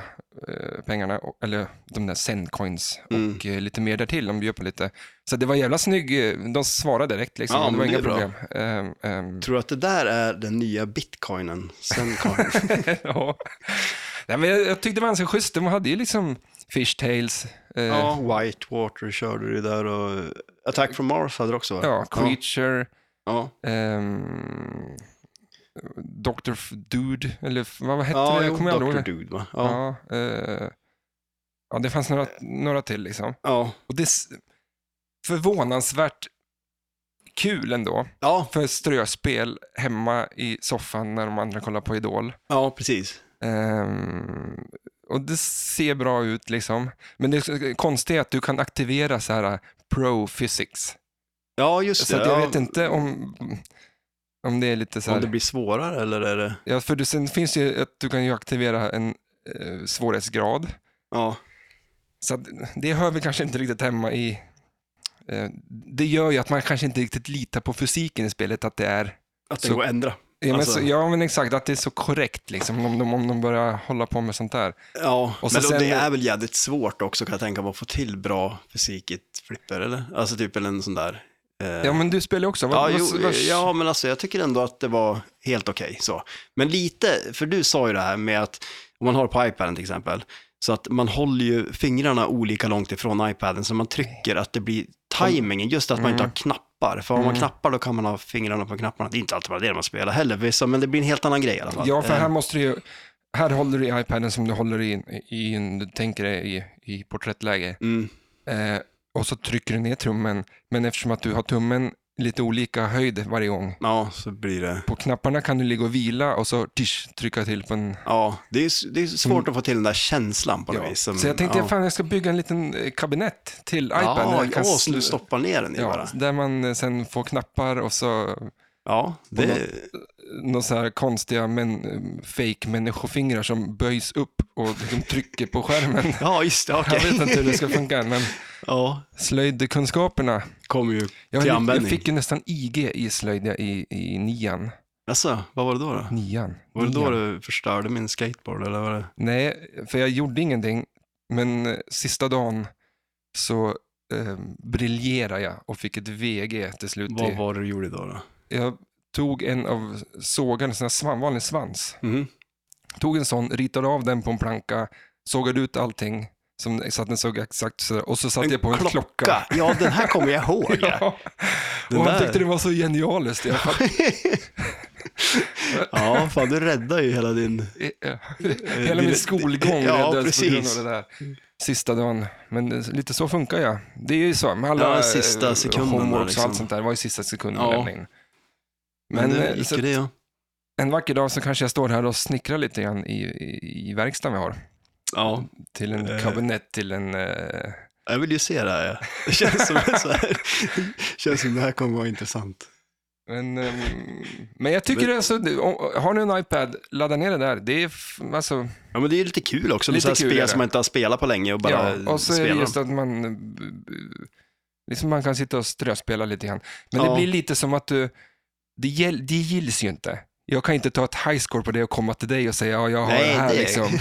A: eh, pengarna, och- eller de där Saint-coins
B: Mm.
A: och eh, lite mer därtill. De bjöd på lite. Så det var jävla snygg, eh, de svarade direkt liksom.
B: Ja,
A: det var
B: men det
A: inga
B: är bra.
A: problem. Ehm, ehm,
B: Tror du att det där är den nya bitcoinen? Zencoin?
A: ja. Nej, men jag, jag tyckte det var ganska schysst. De hade ju liksom fishtails, eh,
B: ja, Whitewater körde det där och Attack from Mars hade det också va?
A: ja, creature.
B: Ja,
A: Ehm, Dr. F- Dude, eller f- vad vad hette
B: ja
A: det?
B: jo,
A: Jag kommer aldrig
B: Dr.
A: ihåg det.
B: Dude va? Ja.
A: Ja, eh, ja, det fanns några, några till liksom.
B: ja.
A: Och det är s- förvånansvärt kul ändå.
B: Ja,
A: För ströspel hemma i soffan när de andra kollar på Idol.
B: ja precis.
A: Ehm, och det ser bra ut liksom. Men det konstiga är att du kan aktivera så här eh, pro physics.
B: Ja, just
A: Så
B: det.
A: att jag
B: ja.
A: vet inte om, om det är lite så
B: Om
A: här.
B: det blir svårare eller är det...
A: Ja, för du, sen finns ju att du kan ju aktivera en eh, svårighetsgrad.
B: Ja,
A: Så att, det hör vi kanske inte riktigt hemma i... Eh, det gör ju att man kanske inte riktigt litar på fysiken i spelet, att det är
B: att det
A: Så-
B: går att ändra.
A: Ja men,
B: Alltså-
A: så, ja men exakt, att det är så korrekt liksom, om de, om de börjar hålla på med sånt där.
B: Ja,
A: Och
B: men
A: så sen-
B: det är väl jävligt svårt också kan jag tänka mig att få till bra fysik i ett flipper, eller? Alltså typ en sån där... eh,
A: Ja men du spelar ju också,
B: Ja,
A: vad,
B: jo,
A: vad, vad,
B: ja, men alltså jag tycker ändå att det var helt okej så. Men lite, för du sa ju det här med att om man har på iPaden till exempel, så att man håller ju fingrarna olika långt ifrån iPaden, så man trycker att det blir tajmingen, just att man
A: Mm.
B: inte har knappar. För om man knappar då kan man ha fingrarna på knapparna. Det är inte alltid bara det man spelar heller, visst, men det blir en helt annan grej i alla fall.
A: ja för här
B: Eh,
A: måste du ju, här håller du i iPaden som du håller i, i en- du tänker dig i, i porträttläge.
B: mm,
A: Eh, och så trycker du ner tummen, men eftersom att du har tummen lite olika höjd varje gång,
B: ja, så blir det...
A: på knapparna kan du ligga och vila och så tisch, trycka till på en...
B: Ja, det är, det är svårt att få till den där känslan på något
A: Ja.
B: vis. som-
A: Så jag tänkte,
B: ja.
A: fan jag ska bygga en liten eh, kabinett till iPaden.
B: Ja,
A: Jag
B: ja,
A: kan
B: så du
A: sl-
B: stoppar ner den i
A: ja,
B: bara.
A: där man eh, sen får knappar och så eh,
B: Ja, det,
A: några så här konstiga men, eh, fake människofingrar som böjs upp och liksom trycker på skärmen.
B: ja just det, okej.
A: Jag vet inte hur det ska funka, men
B: Ja,
A: slöjdkunskaperna.
B: kom ju
A: Jag,
B: till
A: jag
B: användning.
A: fick ju nästan IG i slöjd i, i nian.
B: Alltså, vad var det då? då?
A: nian.
B: Var det då
A: nian.
B: du förstörde min skateboard eller var det?
A: Nej, för jag gjorde ingenting, men eh, sista dagen så eh, briljerade jag och fick ett VG till slut.
B: Vad
A: I,
B: var det du gjorde då? då?
A: jag tog en av sågarens, en sån här svan- vanlig svans,
B: Mhm.
A: tog en sån, ritade av den på en planka, sågade ut allting som, så att den såg exakt så och så satte jag på en klocka.
B: Ja, den här kommer jag ihåg. ja.
A: Ja.
B: Den
A: Och han
B: där.
A: tyckte det var så genialiskt. Jag, fatt-
B: ja, fan du räddade ju hela din...
A: Eh, hela
B: Eh, det-
A: min skolgång
B: ja,
A: räddades på grund
B: precis.
A: av det där. Sista dagen, men eh, lite så funkar jag. Det är ju så, med alla
B: Ja, sista
A: eh,
B: sekunderna,
A: homeworks
B: liksom.
A: och allt sånt där, det var ju sista sekunden
B: Ja.
A: att lämna in.
B: Men,
A: Men,
B: det
A: eh,
B: gick
A: så,
B: ju det ja.
A: en vacker dag så kanske jag står här och snickrar lite grann i, i, i verkstaden vi har.
B: ja.
A: Till en
B: Eh.
A: kabinett, till en... eh,
B: Jag vill ju se det här. Ja. Det känns som, så här. känns som det här kommer vara intressant.
A: Men, ehm, men jag tycker alltså, det- om- har ni en iPad, ladda ner det där. Det är, f- alltså,
B: Ja, men det är ju lite kul också. Lite
A: Lite
B: så här
A: kul är
B: spel
A: det.
B: som man inte har spelat på länge och bara
A: ja, och så är
B: spelar
A: det
B: dem.
A: just att man, eh, b- b- liksom man kan sitta och ströspela lite grann. Men
B: Ja.
A: det blir lite som att du, det, gäll, det gills ju inte. Jag kan inte ta ett highscore på det och komma till dig och säga, ja, jag har
B: Nej,
A: det här
B: det-
A: liksom.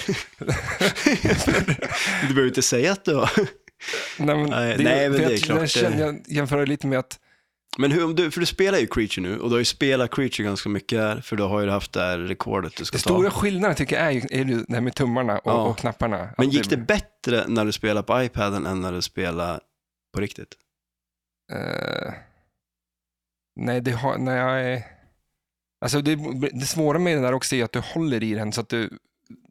B: Du behöver inte säga att du har...
A: Nej, men
B: Nej, nej, men
A: för
B: det är
A: jag,
B: klart, det-
A: Jag, känner, jag jämför det lite med att,
B: Men hur, om du, för du spelar ju Creature nu och du har ju spelat Creature ganska mycket här, för du har ju haft det här rekordet du ska
A: det
B: ta.
A: stora skillnaden tycker jag är, ju- är ju det här med tummarna och,
B: Ja.
A: och knapparna.
B: Men
A: Att
B: gick det bättre när du spelade på iPaden än när du spelade på riktigt?
A: Eh, nej, det har, nej, jag, alltså det, det svåra med den där också är att du håller i den så att du,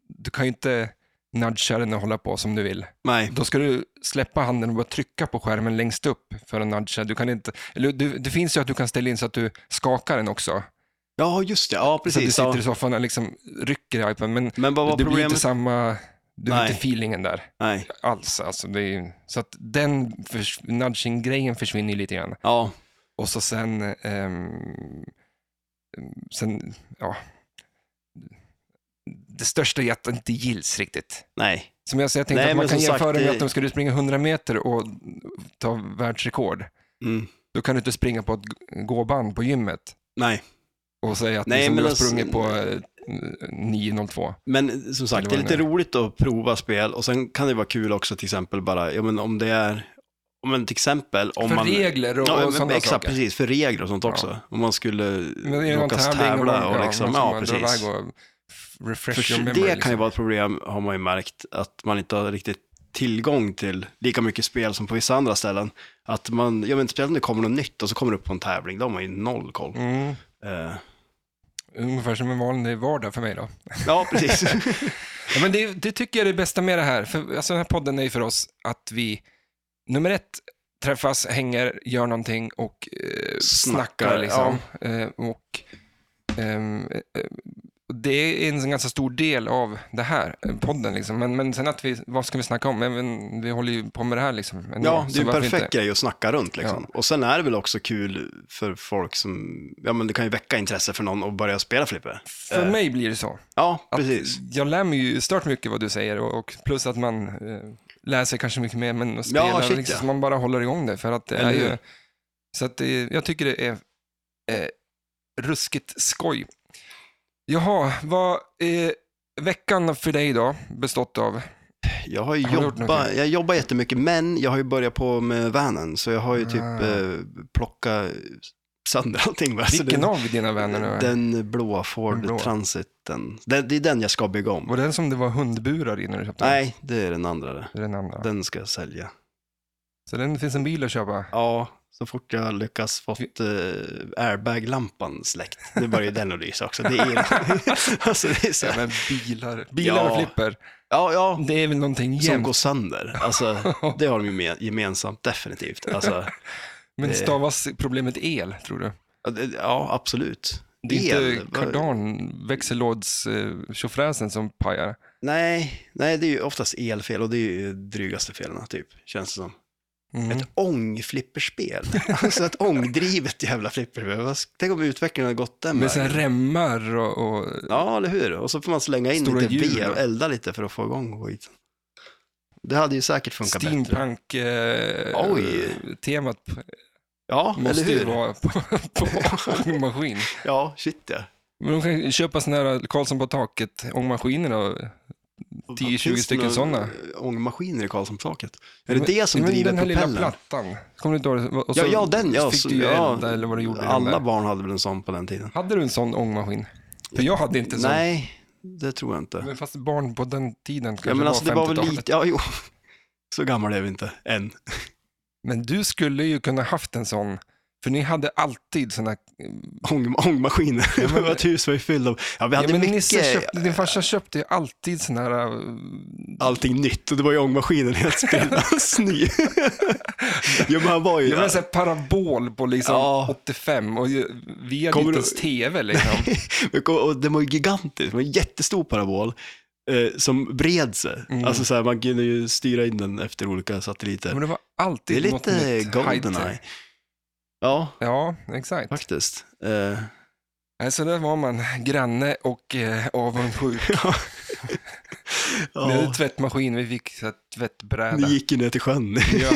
A: du kan ju inte nudga den och hålla på som du vill.
B: Nej,
A: Då ska du släppa handen och bara trycka på skärmen längst upp för att nudga. Du kan inte, eller du, det finns ju att du kan ställa in så att du skakar den också.
B: ja just det, ja
A: så att du
B: precis.
A: sitter
B: Ja.
A: i soffan och liksom rycker i iPaden, men
B: Men vad var
A: det blir ju inte
B: problemet?
A: samma, du har
B: Nej.
A: inte feelingen där
B: Nej,
A: alls. Alltså det är, ju- så att den förs, nudging-grejen försvinner ju lite grann.
B: ja,
A: Och så sen, ehm, sen ja, det största är att det inte gills riktigt.
B: nej.
A: Som jag, säger, jag tänkte
B: Nej,
A: att man
B: men
A: kan
B: som sagt, eh,
A: jämföra med
B: det-
A: att de skulle springa 100 meter och ta världsrekord.
B: Mm.
A: Då kan du inte springa på ett gåband på gymmet
B: Nej,
A: och säga att
B: Nej,
A: liksom,
B: men
A: du har
B: alltså-
A: sprungit på eh, 9.02.
B: men som sagt, det är
A: Eller vad det
B: lite roligt att prova spel och sen kan det vara kul också till exempel bara, ja men om det är, om en till exempel om
A: För
B: man...
A: regler och,
B: ja,
A: och
B: men
A: sådana
B: Exakt,
A: saker.
B: precis, för regler och sånt också. Om man skulle
A: Men det är någon
B: råkas
A: tävling och, man-
B: tävla och liksom,
A: man ska bara dra
B: ja precis.
A: iväg och f- refresh
B: För
A: your
B: det
A: memory,
B: kan
A: liksom.
B: ju vara ett problem, har man ju märkt, att man inte har riktigt tillgång till lika mycket spel som på vissa andra ställen. Att man, jag vet speciellt om det kommer något nytt och så kommer det upp på en tävling, då har man ju noll koll.
A: mm,
B: Eh,
A: Ungefär som en vanlig vardag för mig då.
B: ja, precis.
A: Ja, men det, det tycker jag är det bästa med det här. För, alltså, den här podden är ju för oss att vi, nummer ett, träffas, hänger, gör någonting och eh, snackar.
B: Snackar,
A: liksom. Eh, och, ehm, eh, det är en ganska stor del av det här, eh, podden. Liksom. Men, men sen att vi, vad ska vi snacka om? Även, vi håller ju på med det här. Liksom, ändå,
B: Ja, det
A: så
B: är ju
A: varför
B: perfekt
A: inte?
B: grej att snacka runt liksom. Och sen är det väl också kul för folk som, ja men det kan ju väcka intresse för någon att börja spela flipper.
A: För mig blir det så.
B: Ja,
A: Att
B: precis.
A: Jag lär mig ju stört mycket vad du säger och, och plus att man eh, läser kanske mycket mer, men att spela,
B: shit,
A: liksom,
B: ja.
A: så man bara håller igång det. För att det
B: Eller
A: är ju,
B: hur?
A: så att det, jag tycker det är eh, ruskigt skoj. Jaha, vad är veckan för dig då bestått av?
B: Jag har ju
A: Har du gjort
B: jobbat,
A: någonting?
B: jag jobbar jättemycket, men jag har ju börjat på med vanen, så jag har ju typ
A: Ah.
B: eh, plockat sönder allting. va? Så
A: Vilken
B: Alltså, den,
A: av dina vänner nu? Den...
B: Den blåa Ford
A: Den blå.
B: Transiten. Det, det är den jag ska bygga om.
A: Var det den som det var hundburar i när du köpte den?
B: Nej, det är den andra. det.
A: Det är Den andra.
B: Den ska jag sälja.
A: Så den finns en bil att köpa.
B: Ja, så fort jag lyckas fått eh, airbag-lampan släckt. Nu börjar ju den att lysa också. Det är, alltså, det är så,
A: Ja, men bilar, bilar och
B: Ja.
A: flipper.
B: ja, ja,
A: Det är väl någonting
B: som
A: jämt.
B: går sönder. Alltså, det har de ju med, gemensamt, definitivt. Alltså,
A: Men
B: det-
A: stavas problemet el, tror du?
B: ja, det- ja, absolut.
A: Det är
B: El,
A: inte
B: vad-
A: kardan, växellådstjofräsen som pajar.
B: Nej, nej, det är ju oftast elfel och det är ju drygaste felen, typ, känns det som.
A: Mm.
B: Ett ångflipperspel. Alltså ett ångdrivet jävla flipperspel. Vad- Tänk om utvecklingen hade gått den
A: Med
B: vägen.
A: sådana remmar och, och
B: Ja, eller hur? Och så får man slänga in
A: Stora
B: lite
A: hjul.
B: ved och elda lite för att få igång skiten. Det hade ju säkert funkat bättre. Oj.
A: steampunk-temat
B: Ja,
A: eh, måste
B: eller
A: ju
B: hur?
A: vara på, på ångmaskin.
B: Ja, shit ja.
A: Men de kan ju köpa sådana här Karlsson på taket ångmaskiner och 10-20
B: Finns det
A: stycken
B: några
A: sådana?
B: Ångmaskiner i Karlssonstaket. Är det
A: Men-
B: det som
A: men
B: driver
A: den här lilla
B: propellern?
A: plattan. Kommer du inte ihåg det? Och så
B: Ja, ja, den. Ja,
A: fick
B: så-
A: du ju
B: ja,
A: elda eller vad du gjorde i den
B: Alla
A: där.
B: barn hade väl en sån på den tiden?
A: Hade du en sån ångmaskin? För jag hade inte en sån.
B: Nej, det tror jag inte.
A: Men fast barn på den tiden kanske
B: Ja, men alltså det var väl
A: 50-talet.
B: lite, ja jo. Så gammal är vi inte än.
A: Men du skulle ju kunna haft en sån, för ni hade alltid såna...
B: Ång, ångmaskiner.
A: Ja, men-
B: Vårt hus var ju fyllt av, ja vi
A: Ja,
B: hade
A: men Nisse
B: mycket, eh,
A: köpte, din farsa köpte ju alltid såna här äh,
B: allting nytt och det var ju ångmaskinen helt sprillans ny. jo men han var ju,
A: jag menar, så här parabol på liksom
B: Ja.
A: 85 och ju- vi hade
B: Kommer
A: inte
B: du-
A: ens tv liksom.
B: och den var ju gigantisk, det var en jättestor parabol. Eh, som bred sig.
A: Mm.
B: Alltså så här, man kunde ju styra in den efter olika satelliter.
A: Men det var typ
B: Det
A: alltid
B: är
A: något
B: lite
A: nytt
B: Goldeneye.
A: high-tech.
B: Ja,
A: Ja, exakt.
B: faktiskt. Eh,
A: Nej, Så där var man, granne och eh, avundsjuk. Vi hade
B: ja,
A: tvättmaskin, vi fick så här, tvättbräda.
B: ni gick ju ner till sjön
A: Ja,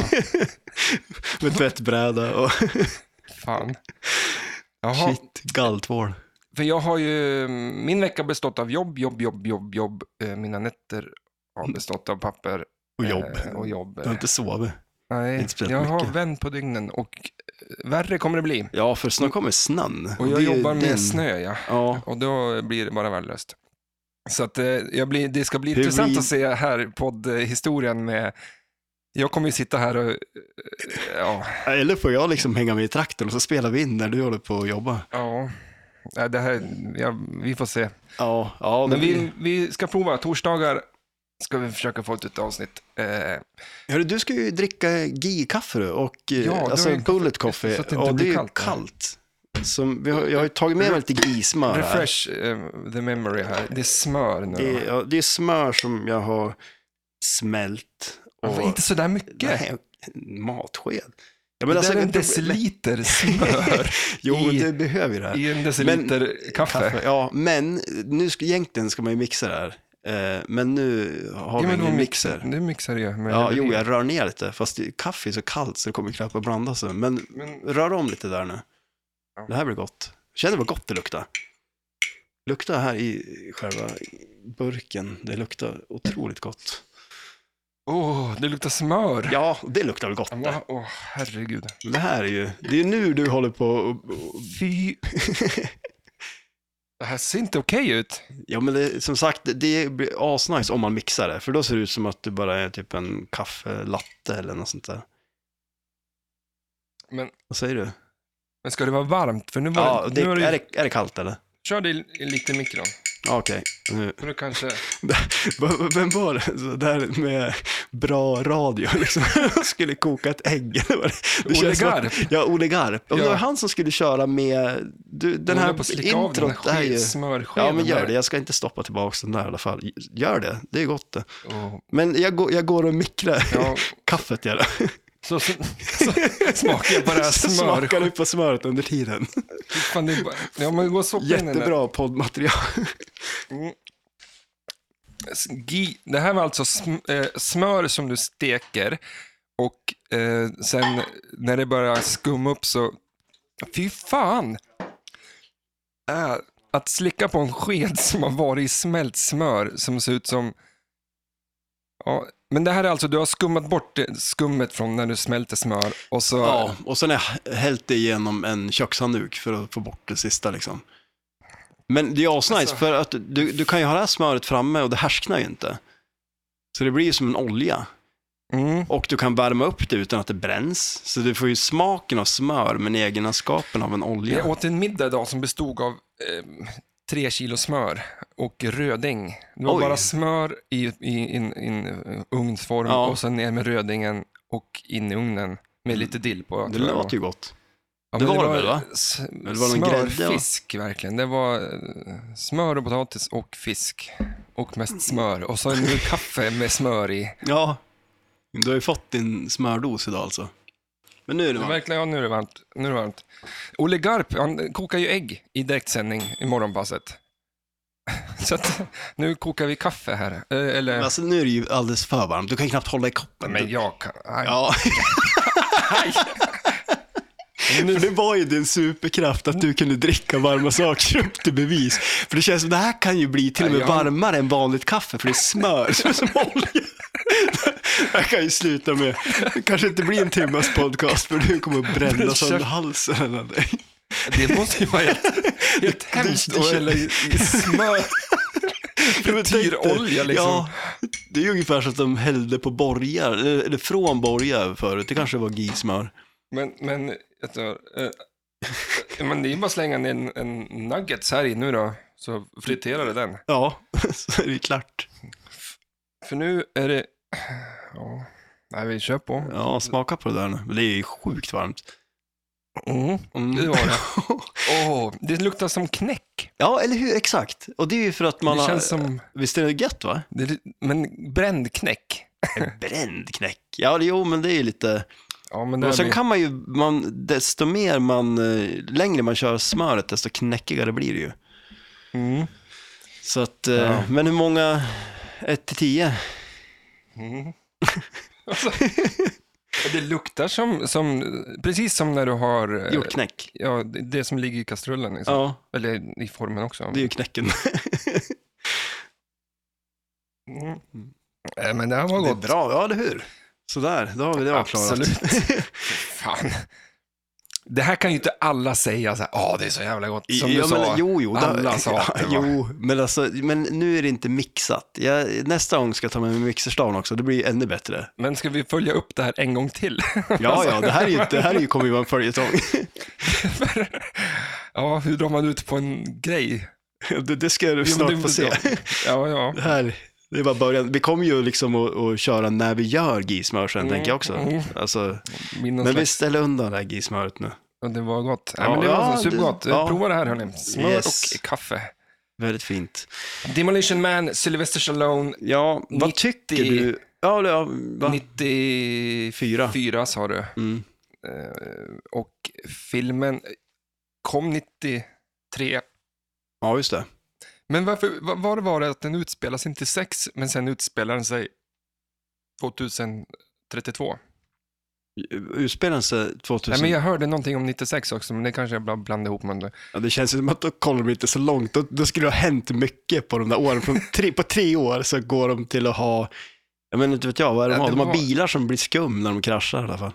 B: med tvättbräda och
A: fan. Jaha,
B: shit, galltvål.
A: För jag har ju, min vecka har bestått av jobb, jobb, jobb, jobb, jobb. Eh, Mina nätter har bestått av papper.
B: Mm. Och jobb.
A: eh, Och jobb.
B: Du har inte sovit.
A: Nej,
B: inte spelat
A: jag har
B: mycket.
A: vänt på dygnen och eh, värre kommer det bli.
B: Ja, för snart kommer snön.
A: Och jag
B: Det är ju
A: jobbar med
B: den-
A: snö, ja.
B: Ja,
A: Och då blir det bara värdelöst. Så att eh, jag blir, det ska bli
B: Det
A: intressant
B: blir-
A: att se här poddhistorien med... Jag kommer ju sitta här och... eh, Ja,
B: eller får jag liksom hänga med i trakten och så spelar vi in när du håller på att jobba.
A: ja. Nej, Det här, ja, vi får se.
B: Ja, ja
A: Men vi, vi ska prova. Torsdagar ska vi försöka få ut ett avsnitt. Eh,
B: Hörru, du ska ju dricka GI-kaffe du, och
A: Ja,
B: ja,
A: det
B: alltså
A: har jag-
B: bullet coffee.
A: så att det inte
B: och
A: blir
B: det är ju
A: kallt, va?
B: kallt. Som, vi har, jag har ju tagit med mig lite GI-smör här.
A: refresh eh, the memory här. Det är smör nu.
B: Det är, ja, det är smör som jag har smält.
A: Ja, för
B: Och,
A: Inte så där mycket.
B: nej, en matsked. Ja, alltså,
A: det där är en
B: inte-
A: deciliter smör
B: Jo, men
A: i-
B: du behöver ju det här.
A: i en deciliter kaffe.
B: Ja, men nu ska, egentligen ska man ju mixa det här. Eh, Men nu har
A: Ja,
B: vi
A: men
B: ingen
A: de
B: mixer.
A: mixar. Du mixar ju. med-
B: Ja, jo, jag rör ner lite, fast det- kaffe är så kallt så det kommer knappt att blanda sig. Men
A: Men,
B: rör om lite där nu.
A: Ja.
B: Det här blir gott. Känner du vad gott det luktar? Lukta här i själva burken. Det luktar otroligt gott.
A: oh, det luktar smör.
B: Ja, det luktar väl gott
A: Åh,
B: det.
A: åh, herregud.
B: Det här är ju, det är nu du håller på och, och
A: Fy. Det här ser inte okej ut.
B: Ja, men det, som sagt, det- det blir asnice om man mixar det, för då ser det ut som att du bara är typ en kaffelatte eller något sånt där.
A: Men,
B: Vad säger du?
A: men ska det vara varmt? För nu var
B: Ja,
A: det,
B: det,
A: nu har
B: är,
A: det,
B: det, är det kallt eller?
A: Kör det i- lite i mikron.
B: Okej, nu.
A: Men du kanske...
B: V- Vem var det så där med bra radio liksom? skulle koka ett ägg? eller vad det- det
A: Ole
B: känns som att-
A: Garp.
B: Ja, Ole Garp. Ja. Det
A: Ja.
B: var han som skulle köra med... Du, den
A: Hon
B: här
A: höll på att slicka av den här
B: introt är
A: sked-
B: ju...
A: smörskeden
B: Ja, men gör
A: där.
B: det. Jag ska inte stoppa tillbaka den där i alla fall. Gör det. Det är gott det.
A: Och-
B: Men jag, går- jag går och mikrar
A: Ja.
B: kaffet. Gör det.
A: Så, så, så smakar jag på det här
B: Så
A: smör.
B: smakar du på smöret under tiden.
A: Fan, det är bara, ja, men gå och soppa in den där.
B: Jättebra poddmaterial.
A: Mm. Gi- Det här var alltså sm- eh, smör som du steker och eh, sen när det börjar skumma upp så... Fy fan! Äh, att slicka på en sked som har varit i smält smör som ser ut som... Ja, men det här är alltså, du har skummat bort det- skummet från när du smälter smör och så...
B: Ja, och sen har jag hällt det igenom en kökshandduk för att få bort det sista liksom. Men det är asnice,
A: Alltså-
B: för att du, du kan ju ha det här smöret framme och det härsknar ju inte. Så det blir ju som en olja.
A: Mm.
B: Och du kan värma upp det utan att det bränns. Så du får ju smaken av smör men egenskapen av en olja.
A: Jag åt en middag idag som bestod av eh, tre kilo smör och röding. Det var
B: Oj.
A: bara smör i en i, in- in, eh, ugnsform
B: Ja.
A: och sen ner med rödingen och in i ugnen med lite dill på.
B: Det
A: tror jag.
B: låter ju gott.
A: Ja,
B: det
A: men
B: var det väl, va?
A: s-
B: det var någon grädde, va?
A: smörfisk verkligen. Det var eh, smör och potatis och fisk. Och mest smör. Och så nu kaffe med smör i.
B: Ja, du har ju fått din smördos idag alltså. Men nu är det
A: Det
B: varmt.
A: verkligen, ja, nu är det varmt. Nu är det varmt. Olle Garp, han kokar ju ägg i direktsändning i morgonpasset. Så att, nu kokar vi kaffe här. Eh,
B: Men
A: Eller,
B: Alltså nu är det ju alldeles för varmt. Du kan ju knappt hålla i koppen.
A: men jag kan... Aj,
B: Ja,
A: nu,
B: för det var ju din superkraft att du kunde dricka varma saker upp till bevis. För det känns som det här kan ju bli till och med
A: Ja, jag-
B: varmare än vanligt kaffe, för det är smör som är som olja. Det här kan ju sluta med, det kanske inte blir en timmes podcast, för du kommer att bränna sönder halsen av dig.
A: det måste ju vara helt, helt hemskt att hälla i, i smör. Frityrolja, liksom.
B: Ja, det är ju ungefär som att de hällde på borgar, eller eller från borgar förut. Det kanske var gismör.
A: Men, men, jag tror, eh, men det är ju bara att slänga ner en, en nuggets här i nu då. Så friterar du den.
B: Ja, så är det ju klart.
A: För nu är det... Ja, nej, vi kör på.
B: Ja, smaka på det där nu. Men Det är ju sjukt varmt.
A: Mm,
B: Mm.
A: det var det. Åh, det luktar som knäck.
B: Ja, eller hur? Exakt. Och det är ju för att man
A: det
B: har...
A: känns som,
B: Visst är det gött, va?
A: det, men bränd knäck.
B: Bränd knäck. Ja, det- jo, men det är ju lite...
A: Ja, men det
B: Men
A: här
B: sen
A: blir-
B: kan man ju... Man, desto mer man... eh, Längre man kör smöret, desto knäckigare blir det ju.
A: mm.
B: Så att... eh,
A: Ja.
B: Men hur många... 1 till 10?
A: Mm. Alltså, och det luktar som, som, precis som när du har eh,
B: Gjort knäck.
A: ja, det, det som ligger i kastrullen. Liksom.
B: Ja,
A: Eller i formen också.
B: det är ju knäcken.
A: Mm. Eh, Men det här var
B: Det är
A: gott.
B: bra, ja, eller hur? Sådär, då har vi det avklarat.
A: Absolut. Fan. Det här kan ju inte alla säga så här, ja det är så jävla gott. Som
B: ja,
A: du
B: men,
A: sa.
B: jo, jo,
A: alla sa att det var-
B: jo men, alltså, men nu är det inte mixat. Jag, nästa gång ska jag ta med mig mixerstaven också, det blir ju ännu bättre. Alltså,
A: Men ska vi följa upp det här en gång till?
B: Ja, ja, det här, är ju, det här är ju, kommer ju vara en följetong.
A: ja, hur drar man ut på en grej?
B: Det, det ska du
A: Jo,
B: snart
A: men det-
B: få se.
A: Ja, ja.
B: Det här, det är bara början. Vi kommer ju liksom att, att köra när vi gör gismör sen, tänker jag också.
A: Mm.
B: Alltså,
A: Min någon
B: men vi
A: slags-
B: ställer undan det här gismöret nu.
A: Ja, Det var gott. Ja,
B: Ja,
A: men det var
B: ja,
A: så supergott.
B: det- ja.
A: Prova det här hörni. Smör
B: Yes.
A: och kaffe.
B: Väldigt fint.
A: Demolition Man, Sylvester Stallone,
B: Ja, vad
A: 90.
B: tycker du? Ja, det- ja va?
A: 94
B: Fyra.
A: sa du.
B: Mm.
A: Eh, Och filmen kom 93.
B: Ja, just det.
A: Men varför, va- var det var det att den utspelar sig 96, men sen utspelar den sig 2032?
B: Utspelar den sig 2000?
A: Nej, men jag hörde någonting om 96 också, men det kanske jag bara blandade ihop med det.
B: Ja, det känns ju som att då kollar de inte så långt. Då, då skulle det ha hänt mycket på de där åren. Från tre, på tre år så går de till att ha, jag menar inte vet jag, vad är det de
A: Ja,
B: har?
A: det
B: De har
A: var-
B: bilar som blir skum när de kraschar i alla fall.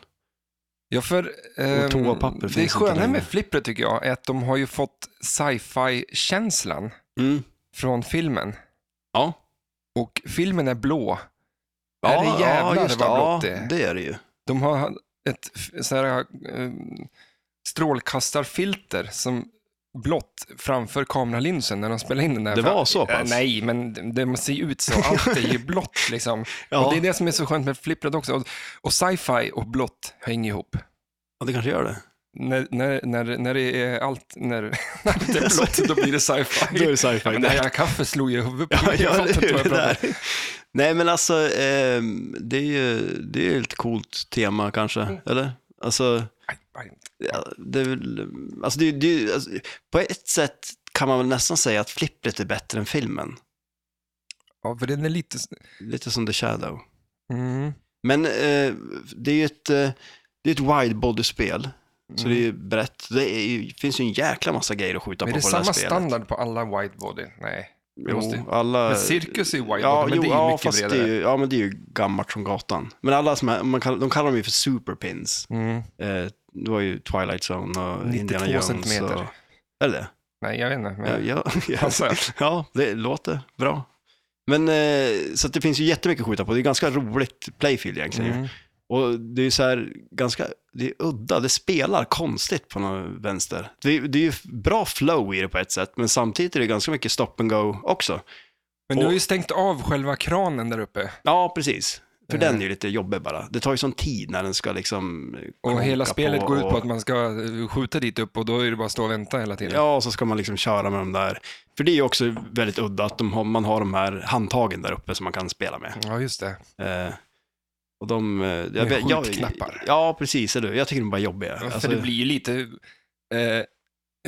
A: Ja, för, ehm,
B: toapapper finns
A: det
B: inte
A: sköna
B: längre.
A: med Flipper tycker jag är att de har ju fått sci-fi-känslan från filmen.
B: Mm. Ja.
A: Och filmen är blå. Är det jävlar
B: just
A: vad
B: Ja,
A: blått det är?
B: det är det ju.
A: De har ett f- så här, eh, ehm, strålkastarfilter som blått framför kameralinsen när de spelade in den där.
B: Det var så
A: För-
B: pass?
A: Nej, men det det ser ju ut så. Allt är ju blått liksom.
B: Ja.
A: Och det är det som är så skönt med Flipprad också. Och, och sci-fi och blått hänger ihop.
B: Ja, det kanske gör det.
A: När, när, när, när det är allt, när, när det är blått, då blir det sci-fi.
B: Då är det sci-fi.
A: Ja, men det här kaffet slog ju i huvudet på
B: Ja,
A: mig. Jag
B: ja
A: fattar
B: eller
A: inte
B: hur?
A: vad
B: Det
A: jag pratar om.
B: där. Nej, men alltså, ehm, det är ju det är ju ett coolt tema kanske,
A: Mm.
B: eller? Alltså,
A: Aj, aj.
B: ja, det är väl, alltså, det, är- det, är- alltså, på ett sätt kan man väl nästan säga att flippret är bättre än filmen.
A: Ja, för den är lite... s-
B: Lite som The Shadow.
A: Mm.
B: Men eh, det är ju ett, eh, det är ett widebody-spel, så det är ju brett. Det är, ju- finns ju en jäkla massa grejer att skjuta
A: Mm. Men
B: på
A: är det
B: på det här
A: samma
B: spelet.
A: standard på alla widebody? Nej. Det måste ju-
B: Jo, alla...
A: Men cirkus är ju widebody,
B: Ja,
A: men
B: jo,
A: det är ju
B: ja,
A: mycket
B: fast det
A: bredare.
B: är ju, ja, men det är ju gammalt som gatan. Men alla som är, man kallar, de kallar dem ju för superpins.
A: Mm.
B: Eh, det var ju Twilight Zone och
A: 92
B: Indiana Jones.
A: centimeter. Alltså,
B: Och, är det det?
A: Nej, jag vet inte.
B: Ja,
A: Men...
B: ja, ja,
A: Chansar jag.
B: ja, det låter bra. Men eh, så att det finns ju jättemycket att skjuta på. Det är ganska roligt playfield egentligen.
A: Mm.
B: Och det är ju så här ganska, det är udda, det spelar konstigt på någon vänster. Det är, det är ju bra flow i det på ett sätt, men samtidigt är det ganska mycket stop and go också.
A: Men du har ju stängt av själva kranen där uppe.
B: Ja, precis. För
A: Eh.
B: den är ju lite jobbig bara. Det tar ju sån tid när den ska liksom... eh,
A: Och hela
B: konka
A: spelet går ut på
B: och-
A: att man ska eh, skjuta dit upp och då är det bara att stå och vänta hela tiden.
B: Ja, och så ska man liksom köra med de där. För det är ju också väldigt udda att de har, man har de här handtagen där uppe som man kan spela med.
A: Ja, just det.
B: Eh, och de... eh, Jag,
A: Med
B: vet- jag,
A: skjutknappar.
B: Ja, precis. Eller? hur? Jag tycker de är bara jobbiga.
A: Ja,
B: Alltså,
A: för det blir ju lite eh,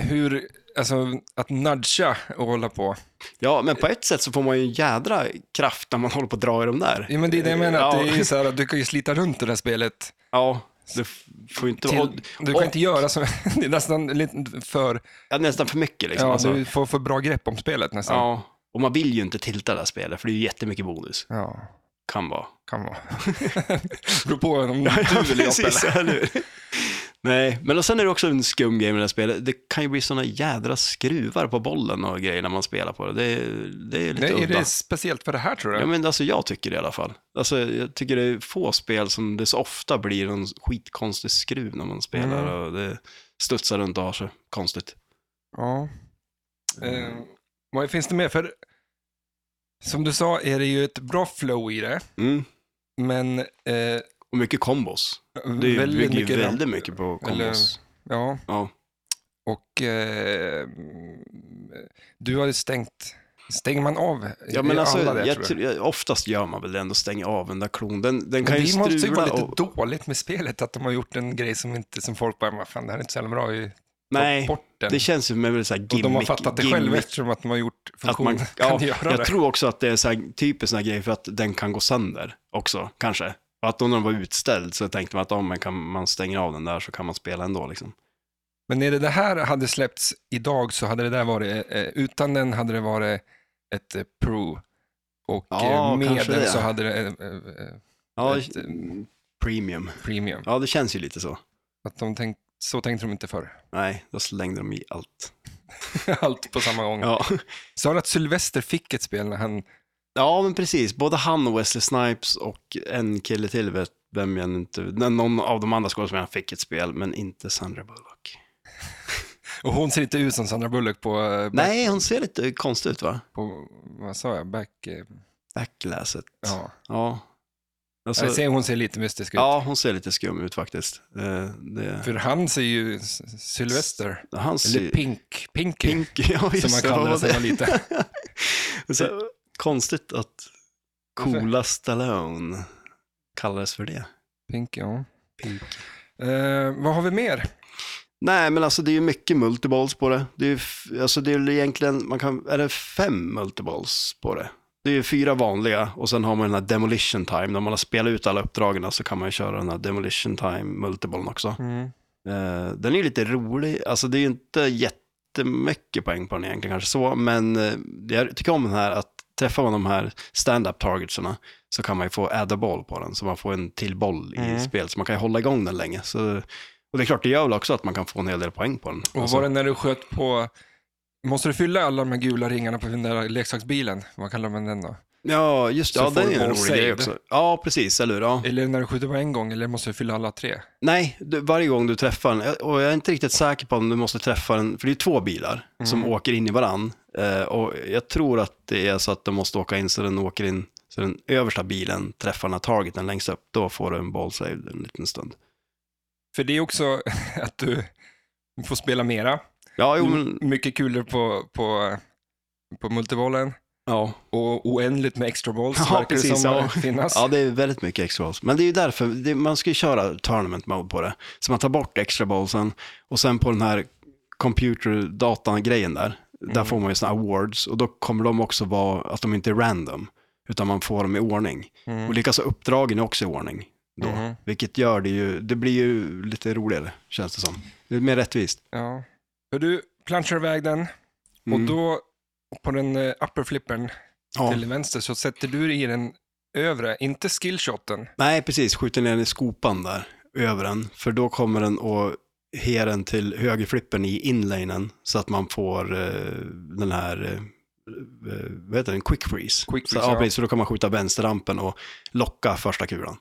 A: hur, alltså att nudga och hålla på.
B: Ja, men på ett sätt så får man ju en jädra kraft när man håller på att dra i de där.
A: Ja, men det är det jag menar, att
B: Ja.
A: det är ju så här att du kan ju slita runt det där spelet.
B: Ja, det f- får ju inte vara...
A: Till, du kan
B: och-
A: inte göra så, det är nästan lite för,
B: Ja, nästan för mycket liksom.
A: ja,
B: alltså.
A: du får för bra grepp om spelet nästan. Ja,
B: ja. Och man vill ju inte tilta det här spelet, för det är ju jättemycket bonus. Kan vara.
A: kan vara. Beror på om du
B: Ja,
A: vill jobba
B: precis,
A: eller.
B: eller hur? Nej, men och sen är det också en skum grej med det här spelet. Det kan ju bli såna jädra skruvar på bollen och grejer när man spelar på det. Det, är- det är lite
A: Nej, är
B: udda.
A: det speciellt för det här tror du?
B: Ja, men alltså jag tycker det i alla fall. Alltså, jag tycker det är få spel som det så ofta blir någon skitkonstig skruv när man spelar
A: Mm.
B: och det studsar runt och har sig konstigt.
A: Ja. Eh, vad finns det mer? För som du sa är det ju ett bra flow i det,
B: Mm.
A: men eh,
B: Och mycket kombos. Det är ju-
A: väldigt
B: bygger ju
A: mycket...
B: Mm, väldigt mycket på kombos.
A: Eller- Ja,
B: Ja.
A: och eh, du har ju stängt... Stänger man av
B: Ja, men
A: i
B: alltså,
A: alla det,
B: jag
A: tror du?
B: tror jag, oftast gör man väl det ändå, stänga av den där klon. Den, den kan
A: Men
B: ju
A: det måste ju vara
B: strula.
A: lite
B: Och,
A: dåligt med spelet, att de har gjort en grej som, inte, som folk bara, "Men fan det här är inte så jävla bra, vi tar
B: nej,
A: bort den.
B: det känns ju som en väldigt så här
A: och
B: gimmick.
A: de har fattat det
B: gimmick-
A: själva eftersom att de har gjort
B: att
A: funktionen
B: man, ja,
A: kan göra
B: jag
A: det.
B: tror också att det är så här, typiskt sån här grej för att den kan gå sönder också, kanske. Och att då när den var utställd så tänkte man att om man, kan, man stänger av den där så kan man spela ändå. Liksom.
A: Men när det, det här hade släppts idag så hade det där varit, eh, utan den hade det varit ett eh, pro. Och
B: Ja,
A: eh, med
B: kanske
A: den
B: det.
A: så hade det eh, eh, eh,
B: Ja,
A: ett eh,
B: premium.
A: premium.
B: Ja, det känns ju lite så.
A: Att de tänk, så tänkte de inte förr.
B: Nej, då slängde de i allt.
A: Allt på samma gång.
B: Ja,
A: Sa du att Sylvester fick ett spel när han...
B: ja men precis. Både han och Wesley Snipes och en kille till, vet vem jag inte... nej, Någon av de andra skådespelarna fick ett spel, men inte Sandra Bullock.
A: Och hon ser inte ut som Sandra Bullock på... eh, Back,
B: Nej, hon ser lite konstig ut, va?
A: på vad sa jag? Back... eh,
B: Backlasset. Ja.
A: Ja.
B: Alltså-
A: jag ser, hon ser lite mystisk ut.
B: Ja, hon ser lite skum ut faktiskt. Eh, det,
A: För han ser ju S- Sylvester.
B: han
A: Eller
B: ser
A: Pink. Pinky.
B: pink, ja, just
A: som man
B: det, vad
A: kallade
B: var
A: sig när
B: det.
A: man Eh. var liten.
B: Så, konstigt att coola Stallone kallades för det.
A: Pinky, ja.
B: Pink.
A: Eh, vad har vi mer?
B: Nej, men alltså det är ju mycket multiballs på det. Det är ju, f- alltså det är väl egentligen, man kan, är det fem multiballs på det? Det är ju fyra vanliga och sen har man den här demolition time. När man har spelat ut alla uppdragen så kan man ju köra den här demolition time multiballen också. Eh, den är ju lite rolig, alltså det är ju inte jättemycket poäng på den egentligen kanske så, men eh, jag tycker om den här att träffar man de här stand-up targetsarna så kan man ju få adda boll på den, så man får en till boll i
A: Mm.
B: spel, så man kan ju hålla igång den länge. Så, och det är klart, det gör väl också att man kan få en hel del poäng på den.
A: Och
B: Alltså,
A: var det när du sköt på... Måste du fylla alla de här gula ringarna på den där leksaksbilen? Vad kallar man den då?
B: Ja, just det.
A: Så
B: Ja,
A: får
B: den är
A: du
B: ju en
A: bonus
B: rolig grej
A: save.
B: också. Ja, precis. Eller hur? Ja.
A: Eller när du skjuter på en gång, eller måste du fylla alla tre?
B: Nej, du, varje gång du träffar den, och jag är inte riktigt säker på om du måste träffa den, för det är två bilar som åker in i varann. Eh, och jag tror att det är så att de måste åka in så den åker in, så den översta bilen träffar den här targeten längst upp. Då får du en ball save en liten stund.
A: För det är också att du får spela mera.
B: Ja, jo,
A: M-
B: men,
A: Mycket kulor på, på, på multibollen
B: ja.
A: och oändligt med extra balls
B: Ja,
A: verkar det
B: precis,
A: som
B: ja.
A: finnas.
B: ja, det är väldigt mycket extra balls. Men det är ju därför, det, man ska ju köra tournament mode på det. Så man tar bort extra ballsen och sen på den här computerdatan-grejen där,
A: Mm.
B: där får man ju såna awards och då kommer de också vara, att de inte är random, utan man får dem i ordning.
A: Mm.
B: Och likaså uppdragen är också i ordning då,
A: Mhm.
B: vilket gör det ju, det blir ju lite roligare känns det som. Det är mer rättvist.
A: Ja. Och du planchar iväg den
B: Mm.
A: och då på den eh, upper flippern
B: Ja.
A: till vänster så sätter du i den övre, inte skillshoten.
B: Nej, precis, skjuter ner den i skopan där, över den, för då kommer den och her den till högerflippen i inlanen så att man får eh, den här, eh, eh, vad heter den, quick freeze.
A: Quick
B: så,
A: freeze,
B: ja,
A: ja.
B: precis, så då kan man skjuta vänsterrampen och locka första kulan.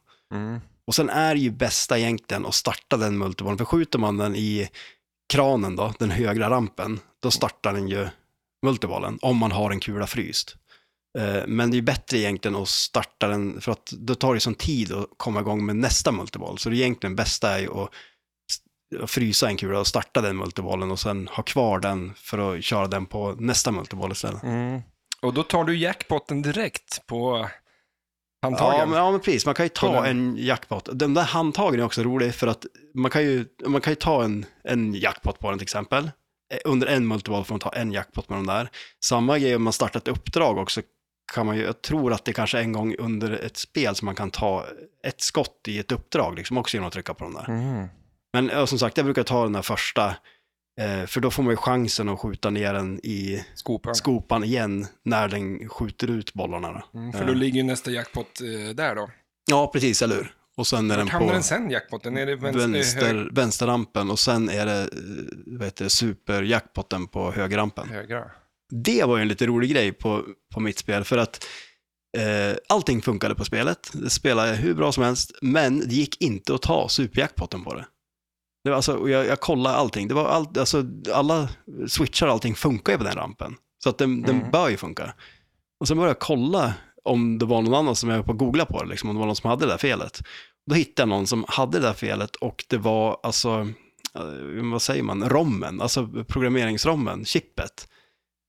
B: Och sen är det ju bästa egentligen att starta den multibollen, för skjuter man den i kranen då, den högra rampen, då startar den ju multibollen, om man har en kula fryst. Eh, Men det är ju bättre egentligen att starta den, för att då tar det ju sån tid att komma igång med nästa multiboll, så det är egentligen bästa är ju att s- att frysa en kula och starta den multibollen och sen ha kvar den för att köra den på nästa multiboll istället.
A: Mm. Och då tar du jackpotten direkt på handtagen.
B: Ja men, ja, men precis. Man kan ju
A: På
B: ta en jackpot. Den där handtagen är också rolig för att man kan ju, man kan ju ta en, en jackpot på den till exempel. Eh, Under en multiball får man ta en jackpot med de där. Samma grej om man startar ett uppdrag också. Kan man ju, jag tror att det kanske är en gång under ett spel som man kan ta ett skott i ett uppdrag, liksom också genom att trycka på de där.
A: Mm.
B: Men eh, som sagt, jag brukar ta den där första, eh, för då får man ju chansen att skjuta ner den i
A: Skopan.
B: skopan igen när den skjuter ut bollarna. Då.
A: Mm, för då ligger ju nästa jackpot eh, där då.
B: Ja, precis, eller hur? Och sen är den
A: Vart
B: på...
A: hamnar den sen, jackpotten? Är det vänster? eh, hög-
B: vänster, vänsterrampen och sen är det eh, vad heter det, superjackpotten på högerrampen.
A: högra?
B: Det var ju en lite rolig grej på, på mitt spel för att eh, allting funkade på spelet. Det spelade hur bra som helst, men det gick inte att ta superjackpotten på det. det var alltså, och jag, jag kollade allting. Det var all, alltså, alla switchar och allting funkar ju på den rampen. Så att den, den
A: Mm.
B: bör ju funka. Och sen började jag kolla om det var någon annan som jag höll på att googla på det, liksom, om det var någon som hade det där felet. Då hittade jag någon som hade det där felet och det var alltså, eh, vad säger man, rommen, alltså programmeringsrommen, chippet,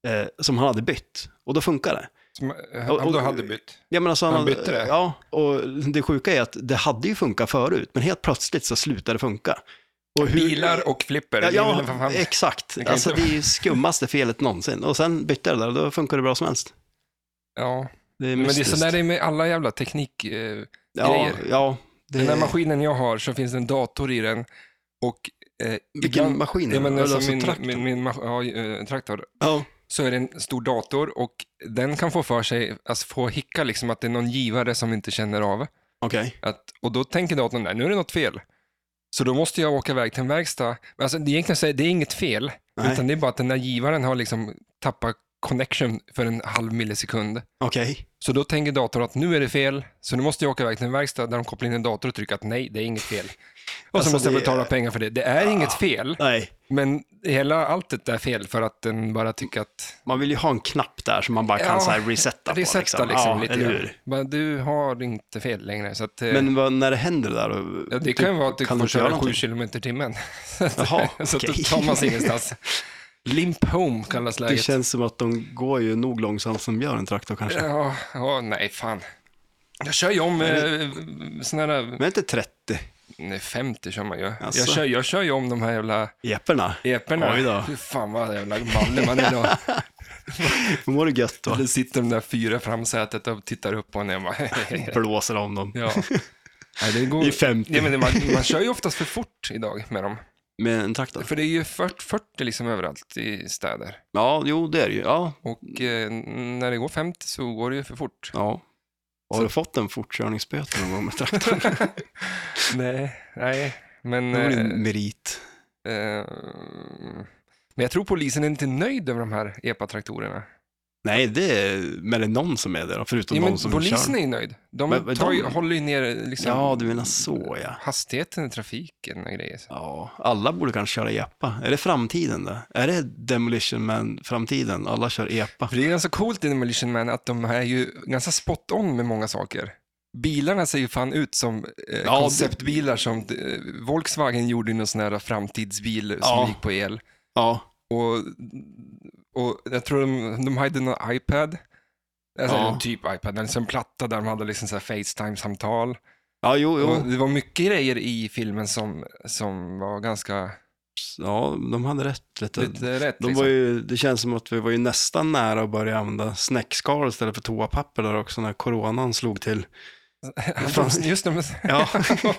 B: eh, som han hade bytt. Och då funkar det.
A: Som, eh,
B: Och-
A: om du
B: och-
A: hade bytt?
B: Ja, men alltså,
A: Han bytte det?
B: Ja, och det sjuka är att det hade ju funkat förut, men helt plötsligt så slutade det funka. Och hur-
A: Bilar och flipper.
B: Ja,
A: det är väl för
B: ja
A: fan-
B: exakt.
A: Det kan
B: alltså,
A: inte
B: det är ju skummaste felet någonsin. Och sen bytte jag det där och då funkar det bra som helst.
A: ja.
B: Det är
A: Men det är
B: mystiskt.
A: så där det är med alla jävla teknik. Eh,
B: ja,
A: grejer.
B: ja, det
A: Den
B: är...
A: här maskinen jag har så finns det en dator i den. Och, eh,
B: Vilken maskin?
A: Ja, men
B: Eller
A: alltså
B: alltså
A: min,
B: traktorn?
A: min, min, ma- ja, eh, traktor.
B: Ja.
A: Så är det en stor dator och den kan få för sig, alltså få hicka liksom att det är någon givare som inte känner av.
B: Okej.
A: Att, och då tänker datorn, nej nu är det något fel. Så då måste jag åka iväg till en verkstad. Men Alltså, det, är egentligen så här, det är inget fel,
B: Nej.
A: utan det är bara att den där givaren har liksom tappat connection för en halv millisekund.
B: Okej.
A: Så då tänker datorn att nu är det fel, så nu måste jag åka iväg till en verkstad där de kopplar in en dator och trycker att nej, det är inget fel. Och
B: Alltså,
A: så måste jag
B: det- Ah.
A: betala pengar för det. Det är inget fel,
B: Nej,
A: men hela allt det är fel för att den bara tycker att
B: man vill ju ha en knapp där som man bara kan
A: Ja,
B: så här resetta på.
A: resetta liksom,
B: ja,
A: lite
B: eller
A: grann.
B: hur?
A: Men du har inte fel längre. Så att, eh,
B: Men vad, när det händer där? då- typ,
A: ja, det kan ju vara att du
B: kan
A: får
B: inte göra
A: köra 7
B: någonting?
A: km i timmen. så att,
B: Jaha,
A: så att då
B: okej.
A: tar man sig ingenstans. Limp home kallas
B: Det
A: läget.
B: känns som att de går ju nog långsamt som gör en traktor kanske.
A: Ja, ja, nej fan. Jag kör ju om eh, såna där,
B: Men inte 30
A: nej, 50 kör man ju.
B: Asså.
A: Jag, kör, jag kör ju om de här jävla
B: eperna.
A: eporna.
B: Oj då.
A: Fy fan vad jävla mallig man är då.
B: Då mår det gött då.
A: Eller sitter de där fyra framsätet och tittar upp på en. Jag bara,
B: Blåser om dem.
A: ja. Nej, det går...
B: I 50.
A: Ja, men det- man, man kör ju oftast för fort idag med dem.
B: Med en traktor?
A: För det är ju 40, 40 liksom överallt i städer.
B: Ja, jo det är det ju. Ja.
A: Och eh, när det går 50 så går det ju för fort.
B: ja. Har du fått en fortkörningsböter någon gång med traktorn?
A: Nej. Nej, men...
B: Det vore en
A: Eh,
B: merit.
A: Ehm, eh, men jag tror polisen är inte nöjd över de här EPA-traktorerna.
B: Nej, det är väl någon som är det då, förutom
A: Ja, men
B: någon som
A: polisen är
B: kör.
A: ju nöjd. De,
B: Men- men
A: tar ju,
B: de-
A: håller ju ner liksom,
B: Ja, du menar så ja.
A: hastigheten i trafiken och grejer. Så.
B: Ja, alla borde kanske köra EPA. Är det framtiden det? Är det Demolition Man-framtiden? Alla kör EPA.
A: För det är ganska coolt i Demolition Man att de är ju ganska spot on med många saker. Bilarna ser ju fan ut som eh,
B: Ja,
A: konceptbilar som eh, Volkswagen gjorde ju någon sån här framtidsbil som
B: Ja.
A: gick på el.
B: Ja,
A: Och, och jag tror de, de hade någon iPad. Alltså,
B: Ja.
A: en Typ iPad, eller en platta där de hade liksom så här Facetime-samtal.
B: ja jo,
A: Och
B: jo.
A: Det var mycket grejer i filmen som, som var ganska
B: Ja, de hade rätt. Vet du.
A: lite rätt. liksom.
B: De var ju, det känns som att vi var ju nästan nära att börja använda snäckskal istället för toapapper där också när coronan slog till.
A: liksom. Just det, men...
B: Ja.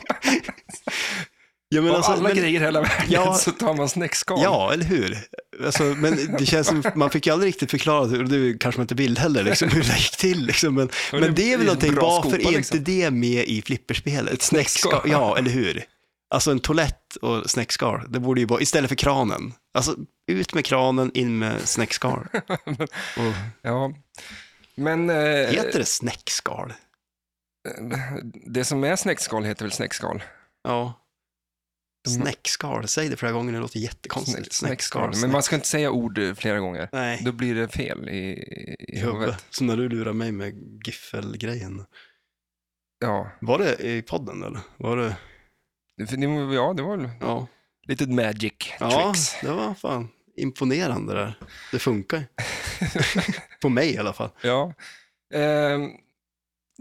B: Jag menar
A: Av
B: alltså,
A: alla
B: men-
A: grejer i hela världen
B: Ja.
A: så tar man snäckskal.
B: Ja, eller hur? Alltså, men det känns som, man fick ju aldrig riktigt förklarat, och det kanske man inte vill heller, liksom, hur det gick till. Liksom. Men,
A: Men
B: men,
A: det
B: det är
A: är
B: väl någonting,
A: bra
B: varför
A: skopa,
B: är
A: liksom.
B: inte det med i flipperspelet? Snäckskal,
A: Snäckskal.
B: ja, eller hur? Alltså en toalett och snäckskal, det borde ju vara, istället för kranen. Alltså, ut med kranen, in med snäckskal. Och,
A: Ja. Men eh,
B: heter det snäckskal?
A: det som är snäckskal heter väl snäckskal?
B: Ja.
A: De-
B: Snäckskal, säg det flera gånger, det låter jättekonstigt. Snäckskal.
A: Men man ska inte säga ord eh, flera gånger.
B: Nej,
A: Då blir det fel i, i
B: i huvudet. Som när du lurar mig med giffelgrejen.
A: Ja.
B: Var det i podden eller? Var det?
A: För det, var- ja, det var väl
B: Ja.
A: lite magic
B: Ja,
A: tricks.
B: det var fan imponerande där. Det funkar ju. På mig i alla fall.
A: Ja. Ehm,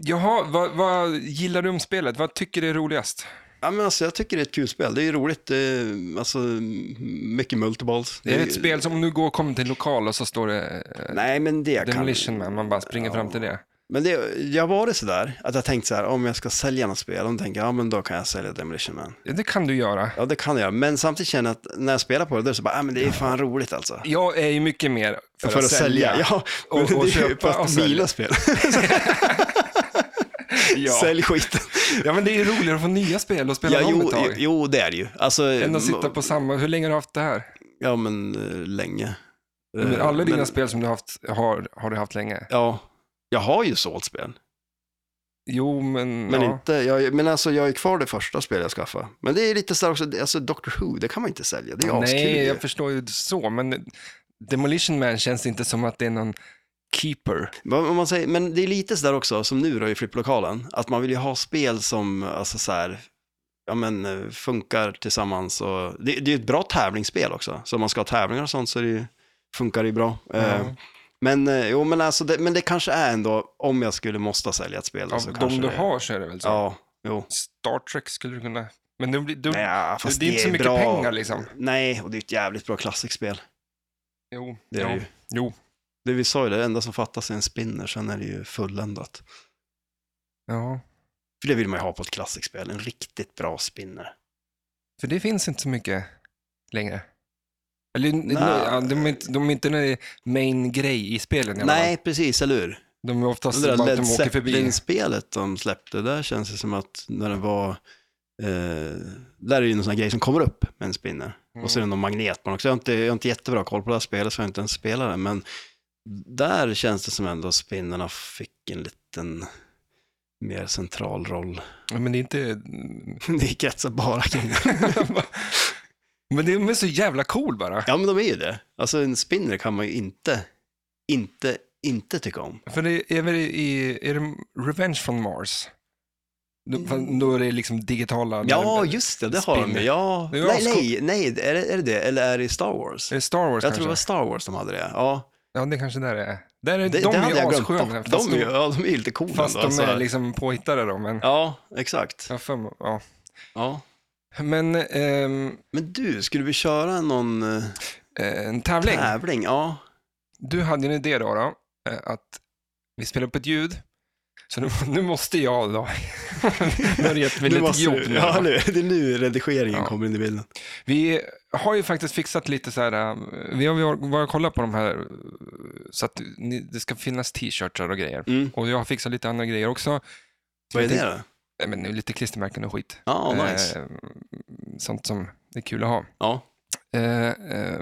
A: jaha, vad, vad gillar du om spelet? Vad tycker du är roligast?
B: Ja, men alltså, jag tycker det är ett kul spel. Det är ju roligt. Det är, alltså, mycket multiballs.
A: Det är ett spel som om du går och kommer till en lokal och så står det eh,
B: Nej, men det kan...
A: Demolition Man, man bara springer
B: Ja.
A: fram till det.
B: Men det, jag var det sådär, att jag tänkte så här, om jag ska sälja något spel, då tänker jag, ja men då kan jag sälja Demolition Man.
A: Ja, Det kan du göra.
B: Ja, det kan jag, men samtidigt känner jag att när jag spelar på det, då är det så bara, ja men det är fan roligt alltså.
A: Jag är ju mycket mer för,
B: För att sälja, ja.
A: Och-
B: men det
A: och
B: är ju
A: köpa
B: fast
A: och sälja.
B: mina spel.
A: Ja.
B: Sälj skiten.
A: ja, men det är ju roligare att få nya spel och spela
B: Ja,
A: dem
B: jo,
A: ett tag.
B: jo, det är det ju. Alltså,
A: Än att sitta på samma. Hur länge har du haft det här?
B: Ja, men eh, länge.
A: Men
B: Eh,
A: alla dina
B: men-
A: spel som du har haft har, har du haft länge.
B: Ja, jag har ju sålt spel.
A: Jo, men...
B: Men,
A: ja.
B: inte, jag, men alltså, jag är kvar det första spel jag skaffade. Men det är lite så här också, det- alltså Doctor Who, det kan man inte sälja. Det är askul.
A: Nej,
B: ju.
A: jag förstår ju så, men Demolition Man känns inte som att det är någon keeper.
B: Men Om man säger, men det är lite sådär också, som nu då i flipplokalen, att man vill ju ha spel som alltså så här, ja, men, eh, funkar tillsammans. Och, det, det är ju ett bra tävlingsspel också, så om man ska ha tävlingar och sånt så är det, ju- funkar det ju bra. Eh,
A: Mm.
B: Men, eh, jo, men, alltså det, men det kanske är ändå, om jag skulle måste sälja ett spel. då
A: Av
B: så
A: de
B: alltså, kanske
A: du
B: det-
A: har så är det väl så.
B: Ja, jo.
A: Star Trek skulle du kunna... Men det, blir- då,
B: Ja, fast
A: det är inte så mycket
B: bra.
A: pengar liksom.
B: Nej, och det är ett jävligt bra klassikspel.
A: Jo,
B: Det är
A: ja.
B: det ju.
A: jo.
B: Det vi sa ju, det enda som fattas är en spinner, sen är det ju fulländat.
A: Ja.
B: För det vill man ju ha på ett klassikspel, en riktigt bra spinner.
A: För det finns inte så mycket längre. Eller,
B: Nej.
A: ja, de, är inte, de är inte en main grej i spelen. i alla
B: Nej, precis, eller hur?
A: fall. De är oftast
B: Det där
A: bara att
B: Led
A: de åker förbi.
B: Zeppelin-spelet de släppte, där känns det som att när det var, eh, där är det ju någon sån här grej som kommer upp med en spinner. Och så är det någon magnet man också. Jag har, inte, jag har inte jättebra koll på det här spelet, så jag har inte ens spelat det, men där känns det som ändå spinnerna fick en liten mer central roll.
A: Ja, Men det är inte...
B: Det kretsar bara kring det.
A: men de är så jävla cool bara.
B: Ja, men de är ju det. Alltså en spinner kan man ju inte, inte, inte tycka om.
A: För det är väl i, är det Revenge from Mars? Då, då är det liksom digitala...
B: Mm. Ja, just det, det har de
A: Spinner.
B: ju. Ja.
A: Det är
B: Nej,
A: ascoolt.
B: nej, nej, är det, är det det? Eller är det i Star Wars?
A: Är det Star Wars
B: Jag tror
A: kanske?
B: det var Star Wars de hade det. Ja,
A: Ja, det kanske där är. Där är
B: det,
A: de
B: det
A: är
B: hade
A: ju
B: jag glömt
A: assköna.
B: bort.
A: Fast,
B: De är ju,
A: de,
B: ja, de är ju lite coola
A: fast
B: ändå,
A: de är
B: alltså.
A: liksom påhittade då. Men,
B: Ja, exakt.
A: ja. för, mig, ja.
B: Ja.
A: men ehm,
B: Men du, skulle vi köra någon eh,
A: eh, en tävling.
B: tävling? Ja.
A: Du hade en idé då, då eh, att vi spelar upp ett ljud. Så nu, nu måste jag då. nu har du gett mig
B: Nu
A: lite
B: måste
A: jobb
B: du-
A: nu.
B: Ja,
A: då.
B: nu, det är nu redigeringen
A: Ja.
B: kommer in i bilden.
A: Vi har ju faktiskt fixat lite så här, eh, vi har- vi har börjat kolla på de här eh, så att ni- det ska finnas t-shirtar och grejer.
B: Mm.
A: Och jag har fixat lite andra grejer också.
B: Vad är det då?
A: Nej, men det är lite klistermärken och skit.
B: Ja, nice.
A: Eh, sånt som är kul att ha. Äh,
B: Ja.
A: Eh, eh,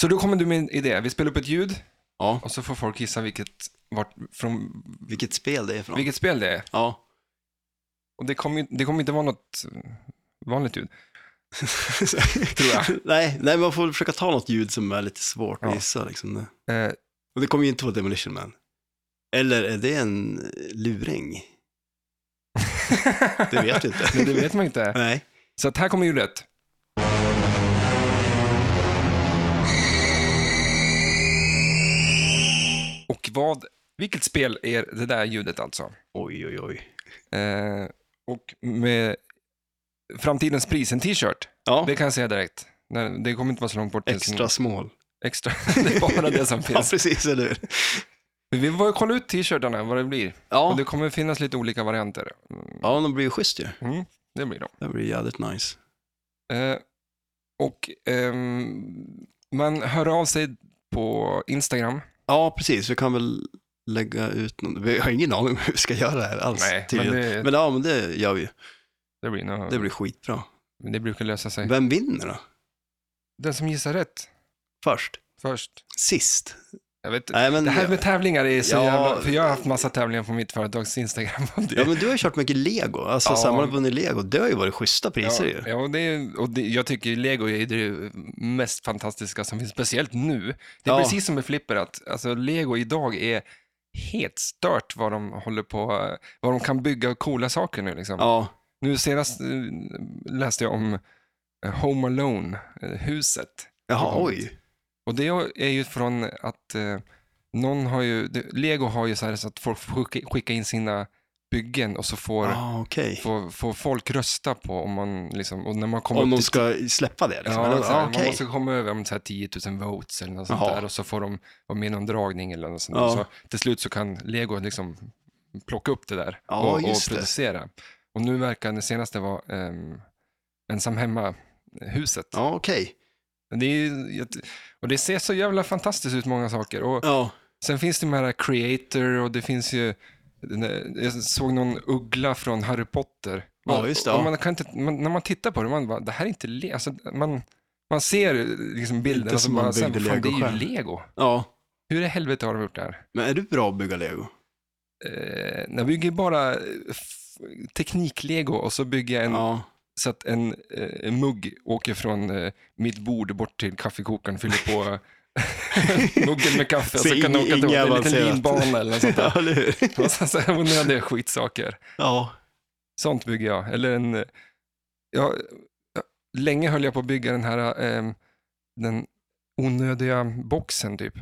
A: så då kommer du med en idé. Vi spelar upp ett ljud
B: Ja,
A: Och så får folk gissa vilket, vart, från,
B: vilket spel det är från.
A: vilket spel det är.
B: Ja.
A: Och det kommer ju det kommer inte vara något eh, vanligt ljud. Tror jag.
B: nej, nej, man får väl försöka ta något ljud som är lite svårt att
A: Ja.
B: gissa. Liksom.
A: Eh,
B: Och det kommer ju inte vara Demolition Man. Eller är det en eh, luring? Det vet vi inte.
A: men det vet man inte.
B: Nej.
A: Så att här kommer ljudet. Och vad, vilket spel är det där ljudet alltså?
B: Oj, oj, oj.
A: Eh, och med framtidens pris, en t-shirt.
B: Ja,
A: Det kan jag säga direkt. Nej, det kommer inte vara så långt bort. tills-
B: extra small.
A: extra. det är bara det som
B: Ja,
A: finns.
B: precis, eller hur?
A: Men Vi får kolla ut t-shirtarna, vad det blir. Och
B: Ja,
A: det kommer finnas lite olika varianter.
B: ja de blir ju schysst ju.
A: Mm, det blir de.
B: Det blir jävligt nice.
A: Eh, och ehm, man hör av sig på Instagram.
B: Ja, precis. Vi kan väl lägga ut någon. Vi har ingen aning om hur vi ska göra det här alls.
A: Nej, men
B: tydligen.
A: det-
B: men ja, men det gör vi ju.
A: Det, blir nog,
B: Det blir skitbra.
A: det brukar lösa sig.
B: Vem vinner då?
A: Den som gissar rätt
B: Först?
A: först.
B: Sist?
A: Jag vet,
B: Nej, men,
A: det här med tävlingar är så
B: Ja.
A: jävla... För jag har haft massa tävlingar på mitt företags Instagram. och det-
B: ja, men du har ju kört mycket lego. Alltså,
A: Ja.
B: så här, man har vunnit lego. Det har ju varit schyssta priser
A: ja,
B: ju.
A: ja, och det, är- och det, jag tycker Lego är det mest fantastiska som finns, speciellt nu. Det är
B: Ja.
A: precis som med Flipper, att alltså, Lego idag är helt stört vad de håller på, vad de kan bygga coola saker nu. Liksom.
B: Ja,
A: Nu senast eh, läste jag om eh, Home eh, Alone-huset.
B: jaha,
A: Ja.
B: oj.
A: Och det är ju från att eh, någon har ju, det- Lego har ju så här så att folk får skicka, skicka in sina byggen och så får,
B: Ja, okej.
A: får, får folk rösta på om man liksom, och när man kommer
B: Om
A: upp
B: de
A: till-
B: ska släppa det liksom.
A: Ja,
B: eller?
A: så här,
B: okej.
A: Man måste komma över om så här 10 000 votes eller något sånt
B: Jaha.
A: där och så får de vara med i någon dragning eller något sånt
B: Ja.
A: där. Så till slut så kan Lego liksom plocka upp det där
B: Ja,
A: och, och
B: just det.
A: producera. Och nu verkar det senaste vara ehm, ensam hemma-huset.
B: Ja, okej.
A: Det är, ju jätte- och det ser så jävla fantastiskt ut många saker. Och
B: Ja,
A: sen finns det de här creator och det finns ju, den där- jag såg någon uggla från Harry Potter.
B: Ja,
A: Och-
B: just det,
A: och
B: ja.
A: Man kan inte, man, när man tittar på det, man bara, det här är inte le- alltså, man, man ser liksom bilden
B: Inte
A: och så
B: som man
A: bara, sen,
B: byggde
A: fan, det
B: Lego
A: är ju
B: själv."
A: lego.
B: ja.
A: Hur i helvete har de gjort det här?
B: Men är du bra att bygga lego?
A: Eh, jag bygger bara eh, f- tekniklego och så bygger jag en,
B: Ja.
A: så att en, eh, en mugg åker från eh, mitt bord bort till kaffekokaren, fyller på muggen med kaffe och
B: Så
A: så kan den
B: ing-
A: åka till
B: inget
A: en liten
B: avancerat.
A: linbana eller något sånt där.
B: ja, eller hur?
A: Och sen så här onödiga skitsaker.
B: Ja.
A: Sånt bygger jag. Eller en, eh, ja, eh, länge höll jag på att bygga den här eh, den onödiga boxen typ.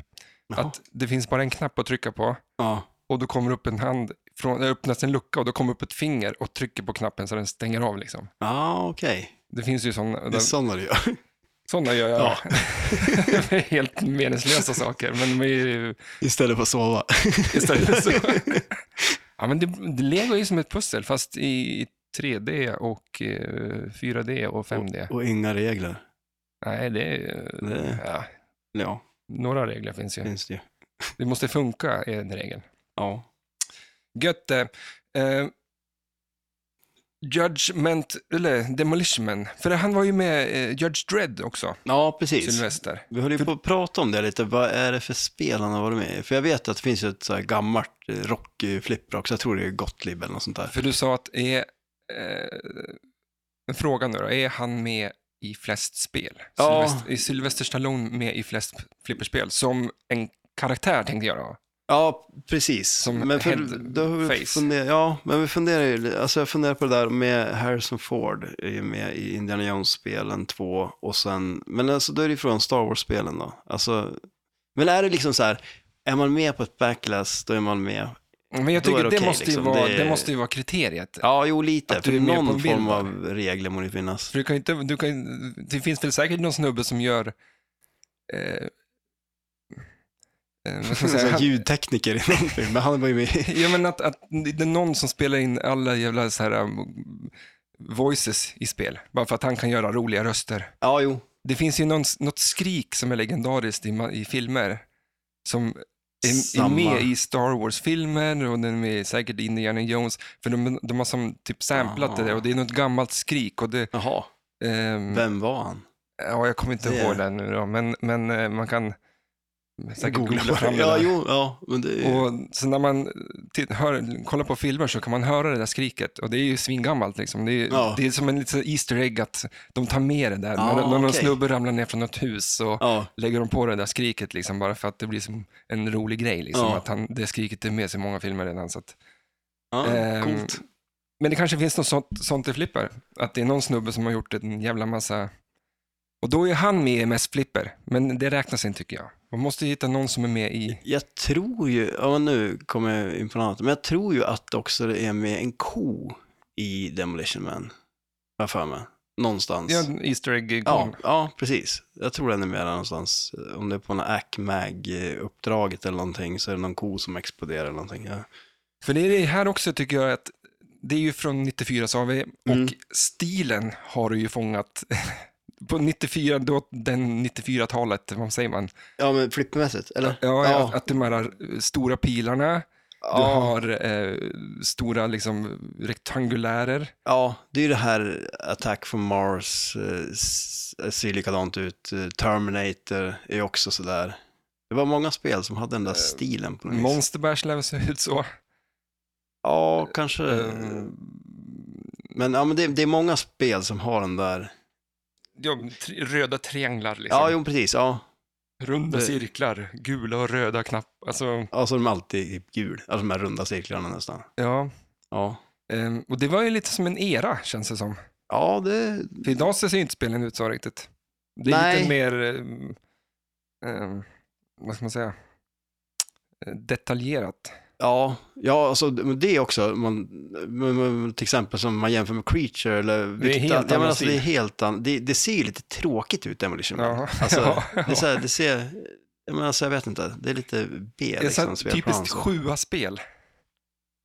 B: Jaha.
A: Att det finns bara en knapp att trycka på
B: Ja.
A: och då kommer upp en hand, från, det öppnas en lucka och då kommer upp ett finger och trycker på knappen så den stänger av liksom.
B: Ja, okej.
A: Det finns ju sådana,
B: Det är sådana du gör.
A: sådana gör jag.
B: Ja.
A: Helt meningslösa saker, men de är ju
B: Istället för att sova.
A: istället så. Ja, men det, det- Lego är ju som ett pussel, fast i 3D och eh, 4D och 5D.
B: Och inga regler.
A: Nej, det är...
B: Det,
A: Ja,
B: ja,
A: några regler finns ju.
B: finns det ju.
A: Det måste funka, är en regel.
B: Ja.
A: Gött det. Eh, Judgment, eller Demolition Man. För han var ju med eh, Judge Dredd också,
B: Ja, precis.
A: Sylvester.
B: Vi höll ju på att prata om det lite. Vad är det för spel han har varit med i? För jag vet att det finns ju ett så här gammalt eh, rockflipper också. Jag tror det är Gottlieb eller något sånt där.
A: För du sa att är... Eh, en fråga nu då, är han med i flest spel?
B: Ja.
A: Sylvester, är Sylvester Stallone med i flest flipperspel? Som en karaktär tänkte jag då.
B: Ja, precis.
A: Som head
B: har vi
A: face.
B: funder- ja, men vi funderar ju, li- alltså jag funderar på det där med Harrison Ford är ju med i Indiana Jones-spelen 2 och sen, men alltså då är det ju från Star Wars-spelen då. Alltså, men är det liksom så här, är man med på ett backlash, då är man med.
A: Men jag
B: Då
A: tycker
B: är
A: det,
B: det okej,
A: måste ju
B: liksom.
A: vara,
B: Det-
A: det måste ju vara kriteriet.
B: Ja, jo lite,
A: Att du
B: för
A: är med på
B: någon
A: en bild
B: form
A: där.
B: av regler måste ju finnas.
A: För du kan ju inte, du kan, ju- det finns väl säkert någon snubbe som gör... Eh, eh, vad ska man
B: Som en
A: säga?
B: ljudtekniker i någon film, men han var ju med.
A: Ja, men att, att det är någon som spelar in alla jävla så här, um, voices i spel, bara för att han kan göra roliga röster.
B: Ja, jo.
A: Det finns ju någon, något skrik som är legendariskt i, ma- i filmer, som är, är
B: Samma.
A: med i Star Wars-filmer och den är med säkert i Indiana Jones, för de, de har som typ samplat det där och det är något gammalt skrik. Och det,
B: Jaha,
A: ehm,
B: Ah. vem var han?
A: Ja, jag kommer inte
B: Det-
A: ihåg det nu då, men, men eh, man kan... Säkert googla, fram det
B: Ja,
A: där.
B: jo, ja. Men det är,
A: Och så när man eh, titt- hör, kollar på filmer så kan man höra det där skriket och det är ju svingammalt. Liksom. Det, är,
B: Ja.
A: det är som en liten Easter egg att de tar med det där.
B: Ja,
A: när när någon
B: okej.
A: snubbe ramlar ner från något hus så
B: ja.
A: lägger de på det där skriket liksom, bara för att det blir som en rolig grej. Liksom,
B: Ja.
A: att han, det skriket är med sig i många filmer redan. Så att,
B: ja
A: Ehm,
B: coolt.
A: men det kanske finns något sånt, sånt i Flipper. Att det är någon snubbe som har gjort en jävla massa... Och då är han med i MS Flipper, men det räknas inte tycker jag. Man måste ju hitta någon som är med i...
B: Jag tror ju, ja men nu kommer jag in på något annat, men jag tror ju att också det är med en ko i Demolition Man. Har jag för mig. Någonstans.
A: Ja, en Easter egg
B: Ja, ja, precis. Jag tror den är med där någonstans. Om det är på något ACMAG-uppdraget eller någonting så är det någon ko som exploderar eller någonting. Ja.
A: För det är det här också tycker jag att det är ju från 94 sa vi och
B: Mm.
A: stilen har du ju fångat på 94, då, den 94-talet, vad säger man?
B: Ja, men flippermässigt, eller?
A: Ja,
B: Ja.
A: Att, att de här eh, stora pilarna, du
B: Ja,
A: har eh, stora liksom rektangulärer.
B: ja, det är ju det här Attack from Mars, eh, s- ser likadant ut. Eh, Terminator är också sådär. Det var många spel som hade den
A: Eh,
B: där stilen på något vis.
A: Monster Bash lär väl se ut så.
B: Ja, kanske.
A: Eh,
B: Mm. Men, ja, men det, det är många spel som har den där.
A: ja, tri- röda trianglar liksom.
B: Ja, jo, precis. Ja,
A: Runda
B: det-
A: cirklar, gula och röda knappar. Alltså,
B: alltså de är alltid i gul. Alltså de här runda cirklarna nästan.
A: ja.
B: Ja,
A: Eh, och det var ju lite som en era känns det som.
B: ja det,
A: För idag ser ju inte spelen ut så riktigt. Det är
B: Nej.
A: lite mer, ehm, ehm, vad ska man säga, Eh, detaljerat.
B: Ja, ja alltså, men det också. Man, men- men- till exempel som man jämför med Creature eller
A: Det är
B: Victor-
A: helt
B: ja, men
A: annan
B: alltså, det, är
A: stil.
B: helt an, det, det ser ju lite tråkigt ut, Demolition Man.
A: Ja.
B: Alltså,
A: Ja.
B: Det, är så här, det ser, jag, menar, alltså, jag vet inte, det är lite B.
A: Det är så
B: Liksom,
A: här typiskt
B: sju.
A: sjua-spel.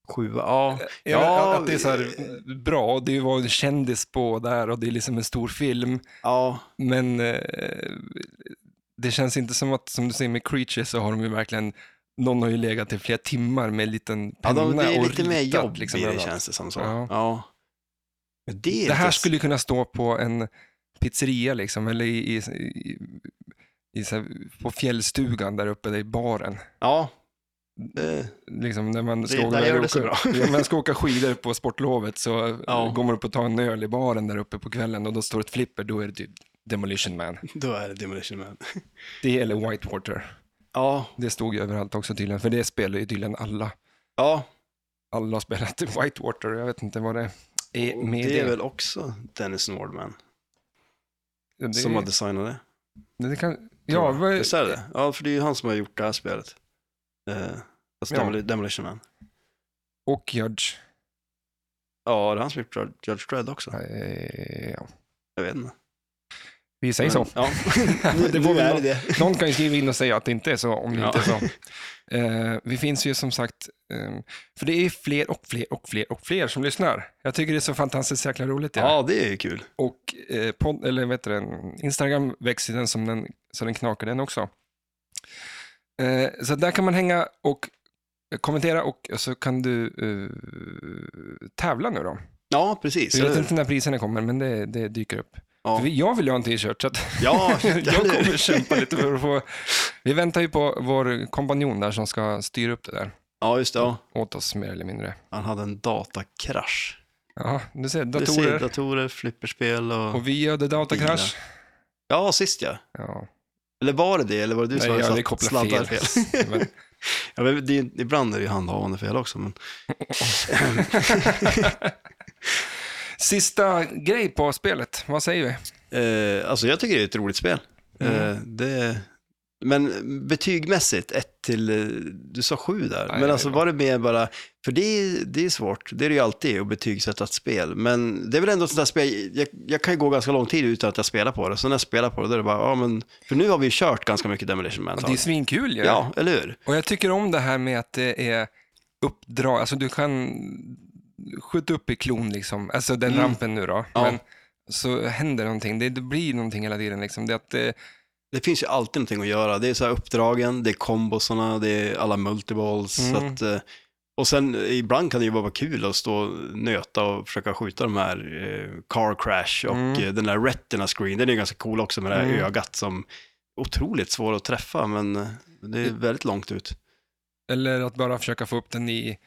B: Sjua, ja. eh,
A: Ja, att det är så här bra, och det var en kändis på där och det är liksom en stor film.
B: ja.
A: Men eh, det känns inte som att, som du säger med Creature så har de ju verkligen, någon har ju legat i flera timmar med en liten
B: ja
A: penna
B: de, det är
A: och
B: lite mer
A: ritat,
B: jobb
A: liksom,
B: i det
A: överallt.
B: känns det som. Så. Ja.
A: Ja.
B: Men det, är
A: Det här
B: inte-
A: skulle kunna stå på en pizzeria liksom, eller i, i, i, i, så här, på fjällstugan där uppe där i baren.
B: Ja. Eh. Det,
A: Liksom, när man ska
B: Det-
A: åka-
B: där gör det så
A: åka-
B: bra.
A: när man ska åka skidor på sportlovet så eh,
B: Ja.
A: går man upp och tar en öl i baren där uppe på kvällen och då står ett flipper, då är det typ Demolition Man.
B: då är det Demolition Man.
A: Det eller Whitewater.
B: Ja,
A: Det stod ju överallt också tydligen, för det spelar ju tydligen alla.
B: ja.
A: Alla har spelat Whitewater och jag vet inte vad det är med
B: det
A: det.
B: är väl också Dennis Nordman
A: Ja, det,
B: som har designat det.
A: det kan, ja,
B: tror jag.
A: vad,
B: Visst är det? Ja, för det är ju han som har gjort det här spelet. Eh, alltså
A: Ja.
B: Demol- Demolition Man.
A: och Judge.
B: Ja, det är han som har gjort Jud- Judge Dredd också.
A: Eh, ja.
B: Jag vet inte.
A: Vi säger så.
B: Men- Ja,
A: Men det
B: det
A: var
B: var
A: väl
B: är
A: något.
B: det.
A: Någon kan ju skriva in och säga att det inte är så, om det
B: Ja.
A: inte är så. Eh, vi finns ju som sagt, eh, för det är fler och fler och fler och fler som lyssnar. Jag tycker det är så fantastiskt jäkla roligt. det här.
B: Ja, det är ju kul.
A: Och eh, podd, eller vet du, det, Instagram växer den som den, så den knakar den också. Eh, så där kan man hänga och kommentera och så kan du eh, tävla nu då.
B: Ja, precis.
A: Jag
B: eller
A: vet
B: hur?
A: inte när priserna kommer, men det, det dyker upp.
B: Ja.
A: För Jag vill ju ha en t-shirt, så att
B: Ja,
A: jag kommer kämpa lite för att få... Vi väntar ju på vår kompanjon där som ska styra upp det där
B: Ja, just det. Ja.
A: åt oss mer eller mindre.
B: Han hade en datakrasch.
A: Ja, du ser,
B: Du ser,
A: datorer.
B: datorer, flipperspel och...
A: Och vi hade datakrasch.
B: Ja, sist ja.
A: Ja,
B: Eller var det det? Eller var det du
A: nej,
B: som hade
A: jag hade
B: slatt-
A: kopplat
B: sladdar
A: fel. Men,
B: ja, men det, är- ibland är det ju handhavande fel också. Men...
A: sista grej på spelet, vad säger vi?
B: Eh, alltså jag tycker det är ett roligt spel. Eh,
A: Mm.
B: det, men betygmässigt, 1 till, eh, du sa 7 där.
A: Nej,
B: men alltså
A: det
B: var det mer bara, för det är, det är svårt, det är det ju alltid att betygsätta ett spel. Men det är väl ändå ett sånt där spel, jag, jag kan ju gå ganska lång tid utan att jag spelar på det. Så när jag spelar på det, då är det bara, ja men, för nu har vi ju kört ganska mycket Demolition Man.
A: Ja,
B: ett
A: det är
B: tag.
A: svinkul ju.
B: Ja, eller hur?
A: Och jag tycker om det här med att det är uppdrag, alltså du kan skjuta upp i klon liksom, alltså den
B: Mm.
A: rampen nu då.
B: Ja.
A: Men så händer någonting, det, det blir någonting hela tiden liksom. Det är att, eh,
B: Det finns ju alltid någonting att göra. Det är så här uppdragen, det är kombosarna, det är alla multiballs.
A: Mm.
B: Så att, eh, och sen eh, ibland kan det ju bara vara kul att stå och nöta och försöka skjuta de här eh, car crash och
A: Mm.
B: eh, den där retina screen. Den är ju ganska cool också med det här
A: Mm.
B: ögat som otroligt svår att träffa, men eh, det är väldigt långt ut.
A: Eller att bara försöka få upp den i,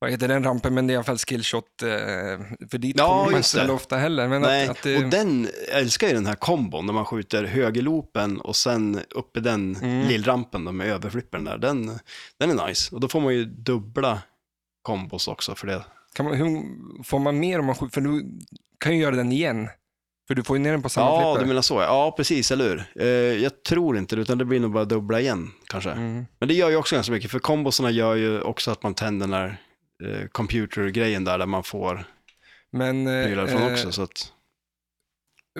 A: vad heter den rampen, men det är i alla fall skillshot. eh, För dit
B: Ja,
A: kommer man inte
B: just det.
A: så ofta heller. Men
B: Nej,
A: att, att det,
B: och den jag älskar ju den här kombon när man skjuter högerloopen och sen uppe den
A: Mm.
B: lillrampen då med överflippen där. Den, den är nice. Och då får man ju dubbla kombos också för det.
A: kan man, hur, får man mer om man skjuter? För du kan ju göra den igen. För du får ju ner den på samma
B: ja,
A: flipper.
B: du menar så. ja. Ja, precis, eller hur? Eh, jag tror inte det, utan det blir nog bara dubbla igen kanske.
A: Mm.
B: Men det gör ju också ganska mycket, för kombosarna gör ju också att man tänder den där eh, computergrejen där, där man får
A: Men
B: prylar från
A: eh,
B: också. Så att,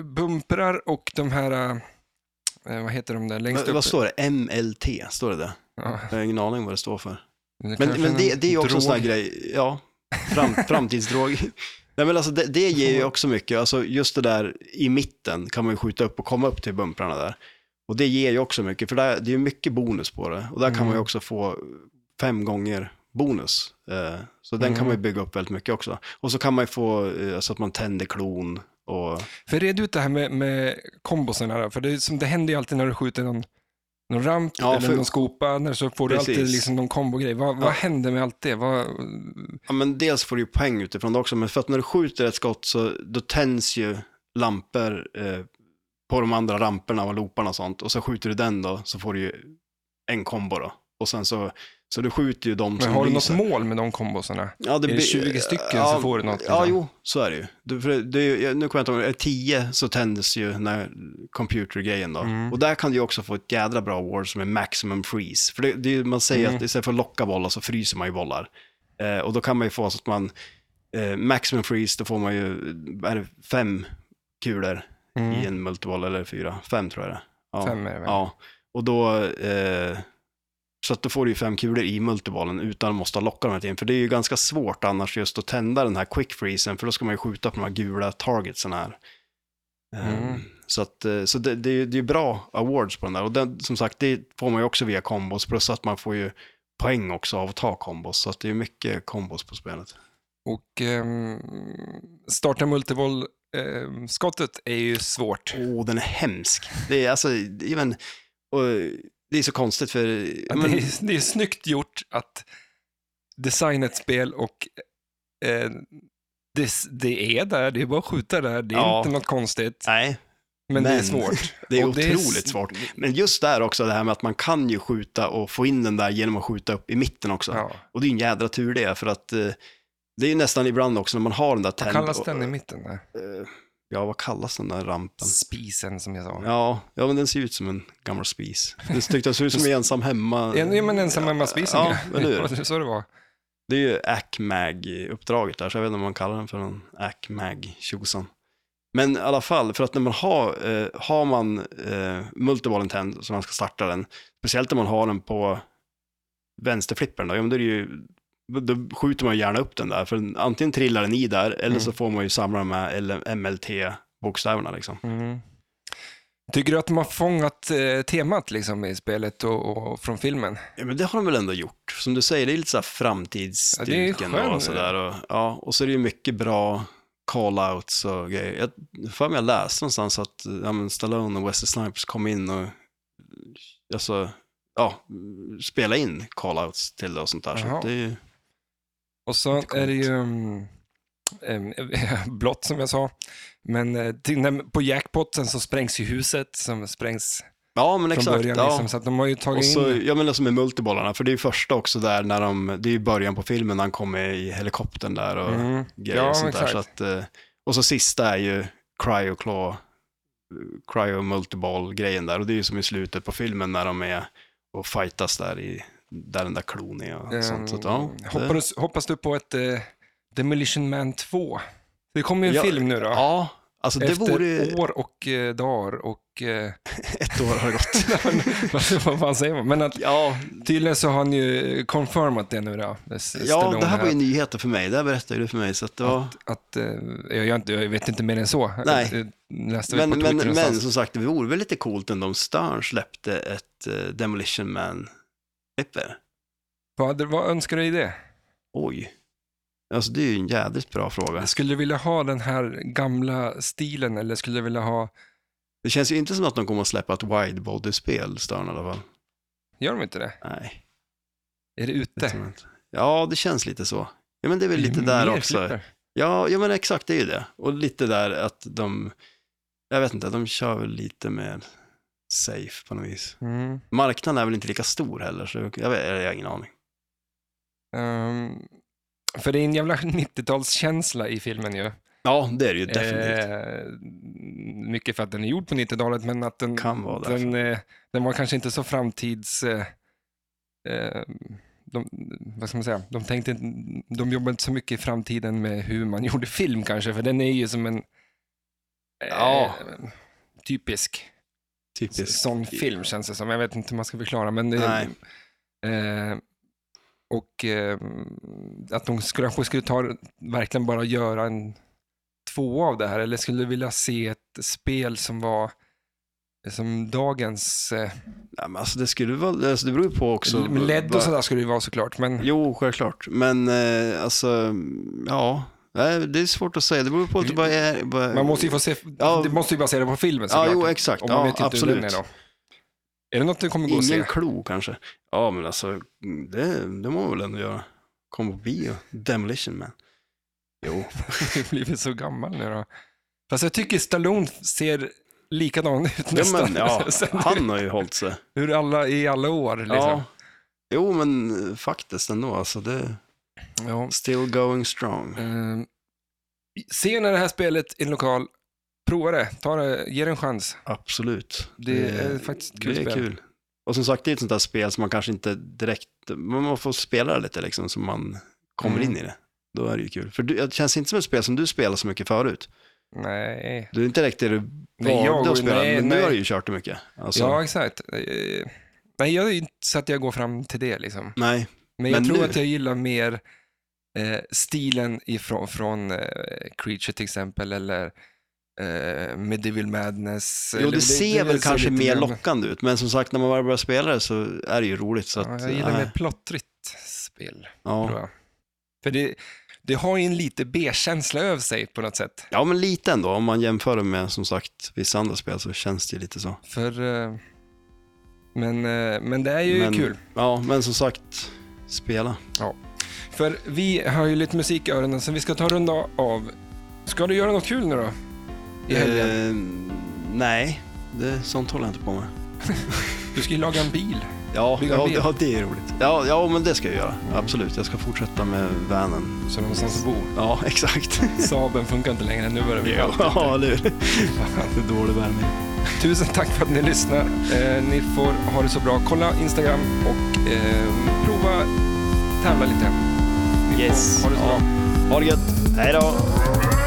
A: bumprar och de här, eh, vad heter de där längst
B: men,
A: upp?
B: vad står det? MLT, står det där?
A: Ja,
B: Jag har ingen aning vad det står för.
A: det kanske
B: Men, men det,
A: en
B: det är ju också en sån här
A: drog.
B: grej, ja, fram, framtidsdrog. Nej, men alltså det, det ger ju också mycket, alltså just det där i mitten kan man ju skjuta upp och komma upp till bumprarna där. Och det ger ju också mycket, för där, det är ju mycket bonus på det. Och där kan man ju
A: Mm.
B: också få fem gånger bonus. Eh, Så den kan man
A: Mm.
B: ju bygga upp väldigt mycket också. Och så kan man ju få eh, så att man tänder klon och...
A: För red ut det här med, med kombosarna då, för det, är som, det händer ju alltid när du skjuter någon, någon ramp
B: Ja,
A: eller
B: för-
A: någon skopa, när så får
B: Precis.
A: du alltid liksom någon kombogrej. Vad,
B: Ja.
A: vad händer med allt det? Vad,
B: Ja, men dels får du ju poäng utifrån det också, men för att när du skjuter ett skott så då tänds ju lampor eh, på de andra ramperna och looparna och sånt. Och så skjuter du den då, så får du ju en kombo då. Och sen så, så du skjuter ju de
A: men
B: som
A: har du något
B: lyser.
A: mål med de kombosarna?
B: Ja,
A: är det
B: blir-
A: 20 stycken
B: ja,
A: så får du något,
B: Ja,
A: liksom?
B: jo, så är det ju. Du, för det, det, är ju- jag- nu kommer jag inte ihåg, är det 10 så tändes ju den här computergrejen då.
A: Mm.
B: Och där kan du ju också få ett jädra bra award som är maximum freeze. För det, det, är ju- man säger
A: Mm.
B: att istället för att locka bollar så fryser man ju bollar. Eh, och då kan man ju få så att man, eh, maximum freeze, då får man ju, är det fem kulor i en multiboll eller fyra? Fem tror jag det är. Mm. Ja.
A: Mm. Fem är det väl?
B: Ja, och då... Eh, så att då får du ju fem kulor i multibollen utan att måste locka dem till. För det är ju ganska svårt annars just att tända den här quick freezen, för då ska man ju skjuta på de här gula targetsen här. Eh,
A: Mm.
B: Så, att, eh, så det, det, är ju- det är ju bra awards på den där. Och den, som sagt, det får man ju också via kombos, plus att man får ju poäng också av att ta kombos. Så att det är mycket kombos på spelet.
A: Och ehm, starta multiboll ehm, skottet är ju svårt.
B: Åh, den är hemsk. Det är alltså, det är, men, och, det är så konstigt för...
A: Ja,
B: men-
A: Det, är, det är snyggt gjort att designa ett spel och eh, det, det är där, det är bara att skjuta där, det är
B: Ja.
A: inte något konstigt.
B: nej,
A: Men, det är
B: Men-
A: svårt.
B: Det är
A: Och det är
B: otroligt
A: s-
B: svårt. Men just där också det här med att man kan ju skjuta och få in den där genom att skjuta upp i mitten också.
A: Ja.
B: Och det är ju en jädra tur det, för att eh, det är ju nästan ibland också när man har den där tänd...
A: Kallas den i mitten? Där?
B: eh, Ja, vad kallas den där rampen?
A: Spisen som jag sa.
B: Ja, ja, men den ser ju ut som en gammal spis. Den tyckte jag såg ut som en ensam hemma.
A: En, ja, men ensam hemma-spisen.
B: Ja, eller hur?
A: så det var.
B: Det är ju ACMAG-uppdraget där, så jag vet inte om man kallar den för en ACMAG-tjosan. Men i alla fall, för att när man har, eh, har man eh, multiballen tänd så man ska starta den, speciellt när man har den på vänsterflippern, då, ja, men då, är det ju, då skjuter man ju gärna upp den där, för den- antingen trillar den i där, eller
A: Mm.
B: så får man ju samla de här MLT-bokstäverna liksom.
A: Mm. Tycker du att de har fångat eh, temat liksom, i spelet och, och från filmen?
B: Ja, men det har de väl ändå gjort. Som du säger, det är lite så här
A: Ja,
B: framtidsdyrken
A: det är skönt.
B: och sådär. Och, ja, och så är det ju mycket bra call-outs och grejer. Jag för mig jag läste någonstans att ja, men Stallone och Wesley Snipes kom in och alltså, ja, spela in call-outs till det och sånt där. Så
A: Jaha.
B: att det är ju,
A: Och så
B: Lite coolt.
A: är det ju um, em, blått som jag sa. Men eh, till, när, på jackpotten så sprängs ju huset som sprängs
B: ja, men
A: från
B: exakt.
A: början.
B: ja.
A: Liksom, så att de har ju
B: Och
A: tagit
B: så,
A: in...
B: ja men alltså med multibollarna, för det är ju första också där när de, det är ju början på filmen när han kommer i helikoptern där och
A: Mm.
B: grejer
A: Ja,
B: och sånt där.
A: exakt.
B: Så att, eh, och så sista är ju Cryo Claw, Cryo Multiball grejen där. Och det är ju som i slutet på filmen när de är och fightas där i, där den där klon är och sånt. Så att, ja,
A: Ehm,
B: det-
A: hoppas, hoppas du på ett eh, Demolition Man 2? Det kommer ju en
B: Ja,
A: film nu då.
B: Ja, alltså det
A: Efter
B: vore ju-
A: år och eh, dagar och... Eh,
B: ett år har gått.
A: vad fan säger man? Men att,
B: ja,
A: tydligen så har han ju confirmat det nu då.
B: ja,
A: Stallone
B: det här var ju nyheter för mig. Det här berättade du för mig. Så att det var...
A: att, eh, jag, gör inte, jag vet inte mer än så.
B: Nej.
A: Jag Läste väl
B: Men,
A: på Twitter
B: men, men
A: någonstans.
B: som sagt, det vore väl lite coolt ändå om Stern släppte ett eh, Demolition Man-flipper.
A: Vad, vad önskar du i det?
B: Oj. Alltså det är ju en jädrigt bra fråga.
A: Skulle du vilja ha den här gamla stilen eller skulle du vilja ha
B: Det känns ju inte som att de kommer att släppa ett widebody-spel, Stern i alla fall.
A: Gör de inte det?
B: Nej,
A: Är det
B: det tror
A: ute?
B: jag inte. Ja, det känns lite så. Ja, men det är väl lite där
A: Mer
B: också.
A: flipper.
B: Ja, ja, men exakt, det är ju det. Och lite där att de, jag vet inte, de kör väl lite mer safe på något vis.
A: Mm.
B: Marknaden är väl inte lika stor heller, så jag, vet, jag har ingen aning.
A: Ehm, för det är en jävla 90-talskänsla i filmen ju.
B: Ja, det är det ju definitivt.
A: Eh, mycket för att den är gjord på 90-talet, men att den,
B: Kan vara därför.
A: den, eh, den var kanske inte så framtids... Eh, eh, de, vad ska man säga? De, tänkte, inte- de jobbade inte så mycket i framtiden med hur man gjorde film kanske, för den är ju som en eh,
B: Ja.
A: typisk
B: Typiskt.
A: sån film känns det som. Jag vet inte hur man ska förklara, men... eh,
B: Typ. Nej.
A: Eh, och eh, att de skulle, kanske skulle ta, verkligen bara göra en två av det här, eller skulle vilja se ett spel som var som dagens... Eh,
B: Nej, men alltså det skulle vara, alltså det beror ju på också.
A: LED och sådär skulle det ju vara såklart, men
B: Jo, självklart. Men eh, alltså, ja. Nej, Det är svårt att säga. Det beror på att det bara är... Bara...
A: man måste ju få se,
B: Ja.
A: det måste ju basera på filmen
B: Ja,
A: såklart.
B: jo, exakt.
A: och man
B: Ja,
A: vet ju inte hur
B: absolut.
A: den är då. Är det något du kommer gå och
B: Ingen
A: se?
B: klo kanske. Ja, men alltså, det, det må man väl ändå göra. Kom på bio. Demolition Man. Jo.
A: Du har blivit så gammal nu då. Fast jag tycker Stallone ser likadan ut
B: Ja,
A: nästan.
B: men, ja,
A: Sen
B: han har ju hållit sig.
A: Hur alla, i alla år liksom.
B: Ja. Jo, men eh, faktiskt ändå. Alltså, det
A: Ja.
B: still going strong.
A: Eh, se när det här spelet i en lokal. Prova det, ta det, ge det en chans.
B: Absolut.
A: Det är faktiskt ett kul
B: Det är
A: spel.
B: kul. Och som sagt, det är ett sånt där spel som man kanske inte direkt, men man får spela det lite liksom så man kommer
A: Mm.
B: in i det. Då är det ju kul. För du, det känns inte som ett spel som du spelar så mycket förut.
A: Nej.
B: Det är inte direkt det du
A: Nej, jag
B: valde
A: går-
B: att spela,
A: nej,
B: men
A: nej.
B: nu har du ju kört det mycket. Alltså,
A: Ja, exakt. Eh, nej, jag är ju inte så att jag går fram till det liksom.
B: Nej,
A: Men jag
B: Men
A: tror
B: nu-
A: att jag gillar mer eh, stilen ifrån, från eh, Creature till exempel, eller eh, Medieval Madness.
B: jo,
A: eller-
B: det, ser väl
A: så
B: kanske
A: lite
B: mer
A: grann-
B: lockande ut, men som sagt, när man väl börjar spela det så är det ju roligt. Så
A: Ja,
B: att,
A: jag gillar
B: nej.
A: mer plottrigt spel, tror
B: eh. ja.
A: jag. För det, det har ju en lite B-känsla över sig på något sätt.
B: ja, men lite ändå. Om man jämför det med som sagt vissa andra spel så känns det ju lite så.
A: För, eh, men, eh, men det är ju
B: Men-
A: kul.
B: Ja, men som sagt, spela.
A: För vi har ju lite musik i öronen så vi ska ta en runda av. Ska du göra något kul nu då? I helgen?
B: Eh, nej, det, sånt håller jag inte på med.
A: Du ska ju laga en bil.
B: Ja,
A: Bygga Mm.
B: ja,
A: bil.
B: ja, det är roligt. Ja, ja, men det ska jag göra. Absolut, jag ska fortsätta med vanen.
A: Så någonstans att bo.
B: Ja, exakt.
A: Saben funkar inte längre. Nu börjar vi
B: ja, eller hur? Det är dålig värme.
A: Tusen tack för att ni lyssnar. Eh, ni får ha det så bra. Kolla Instagram och eh, prova tävla lite. Ni får
B: Yes.
A: Ha det så
B: Ja.
A: bra.
B: Ha det gött. Hej då.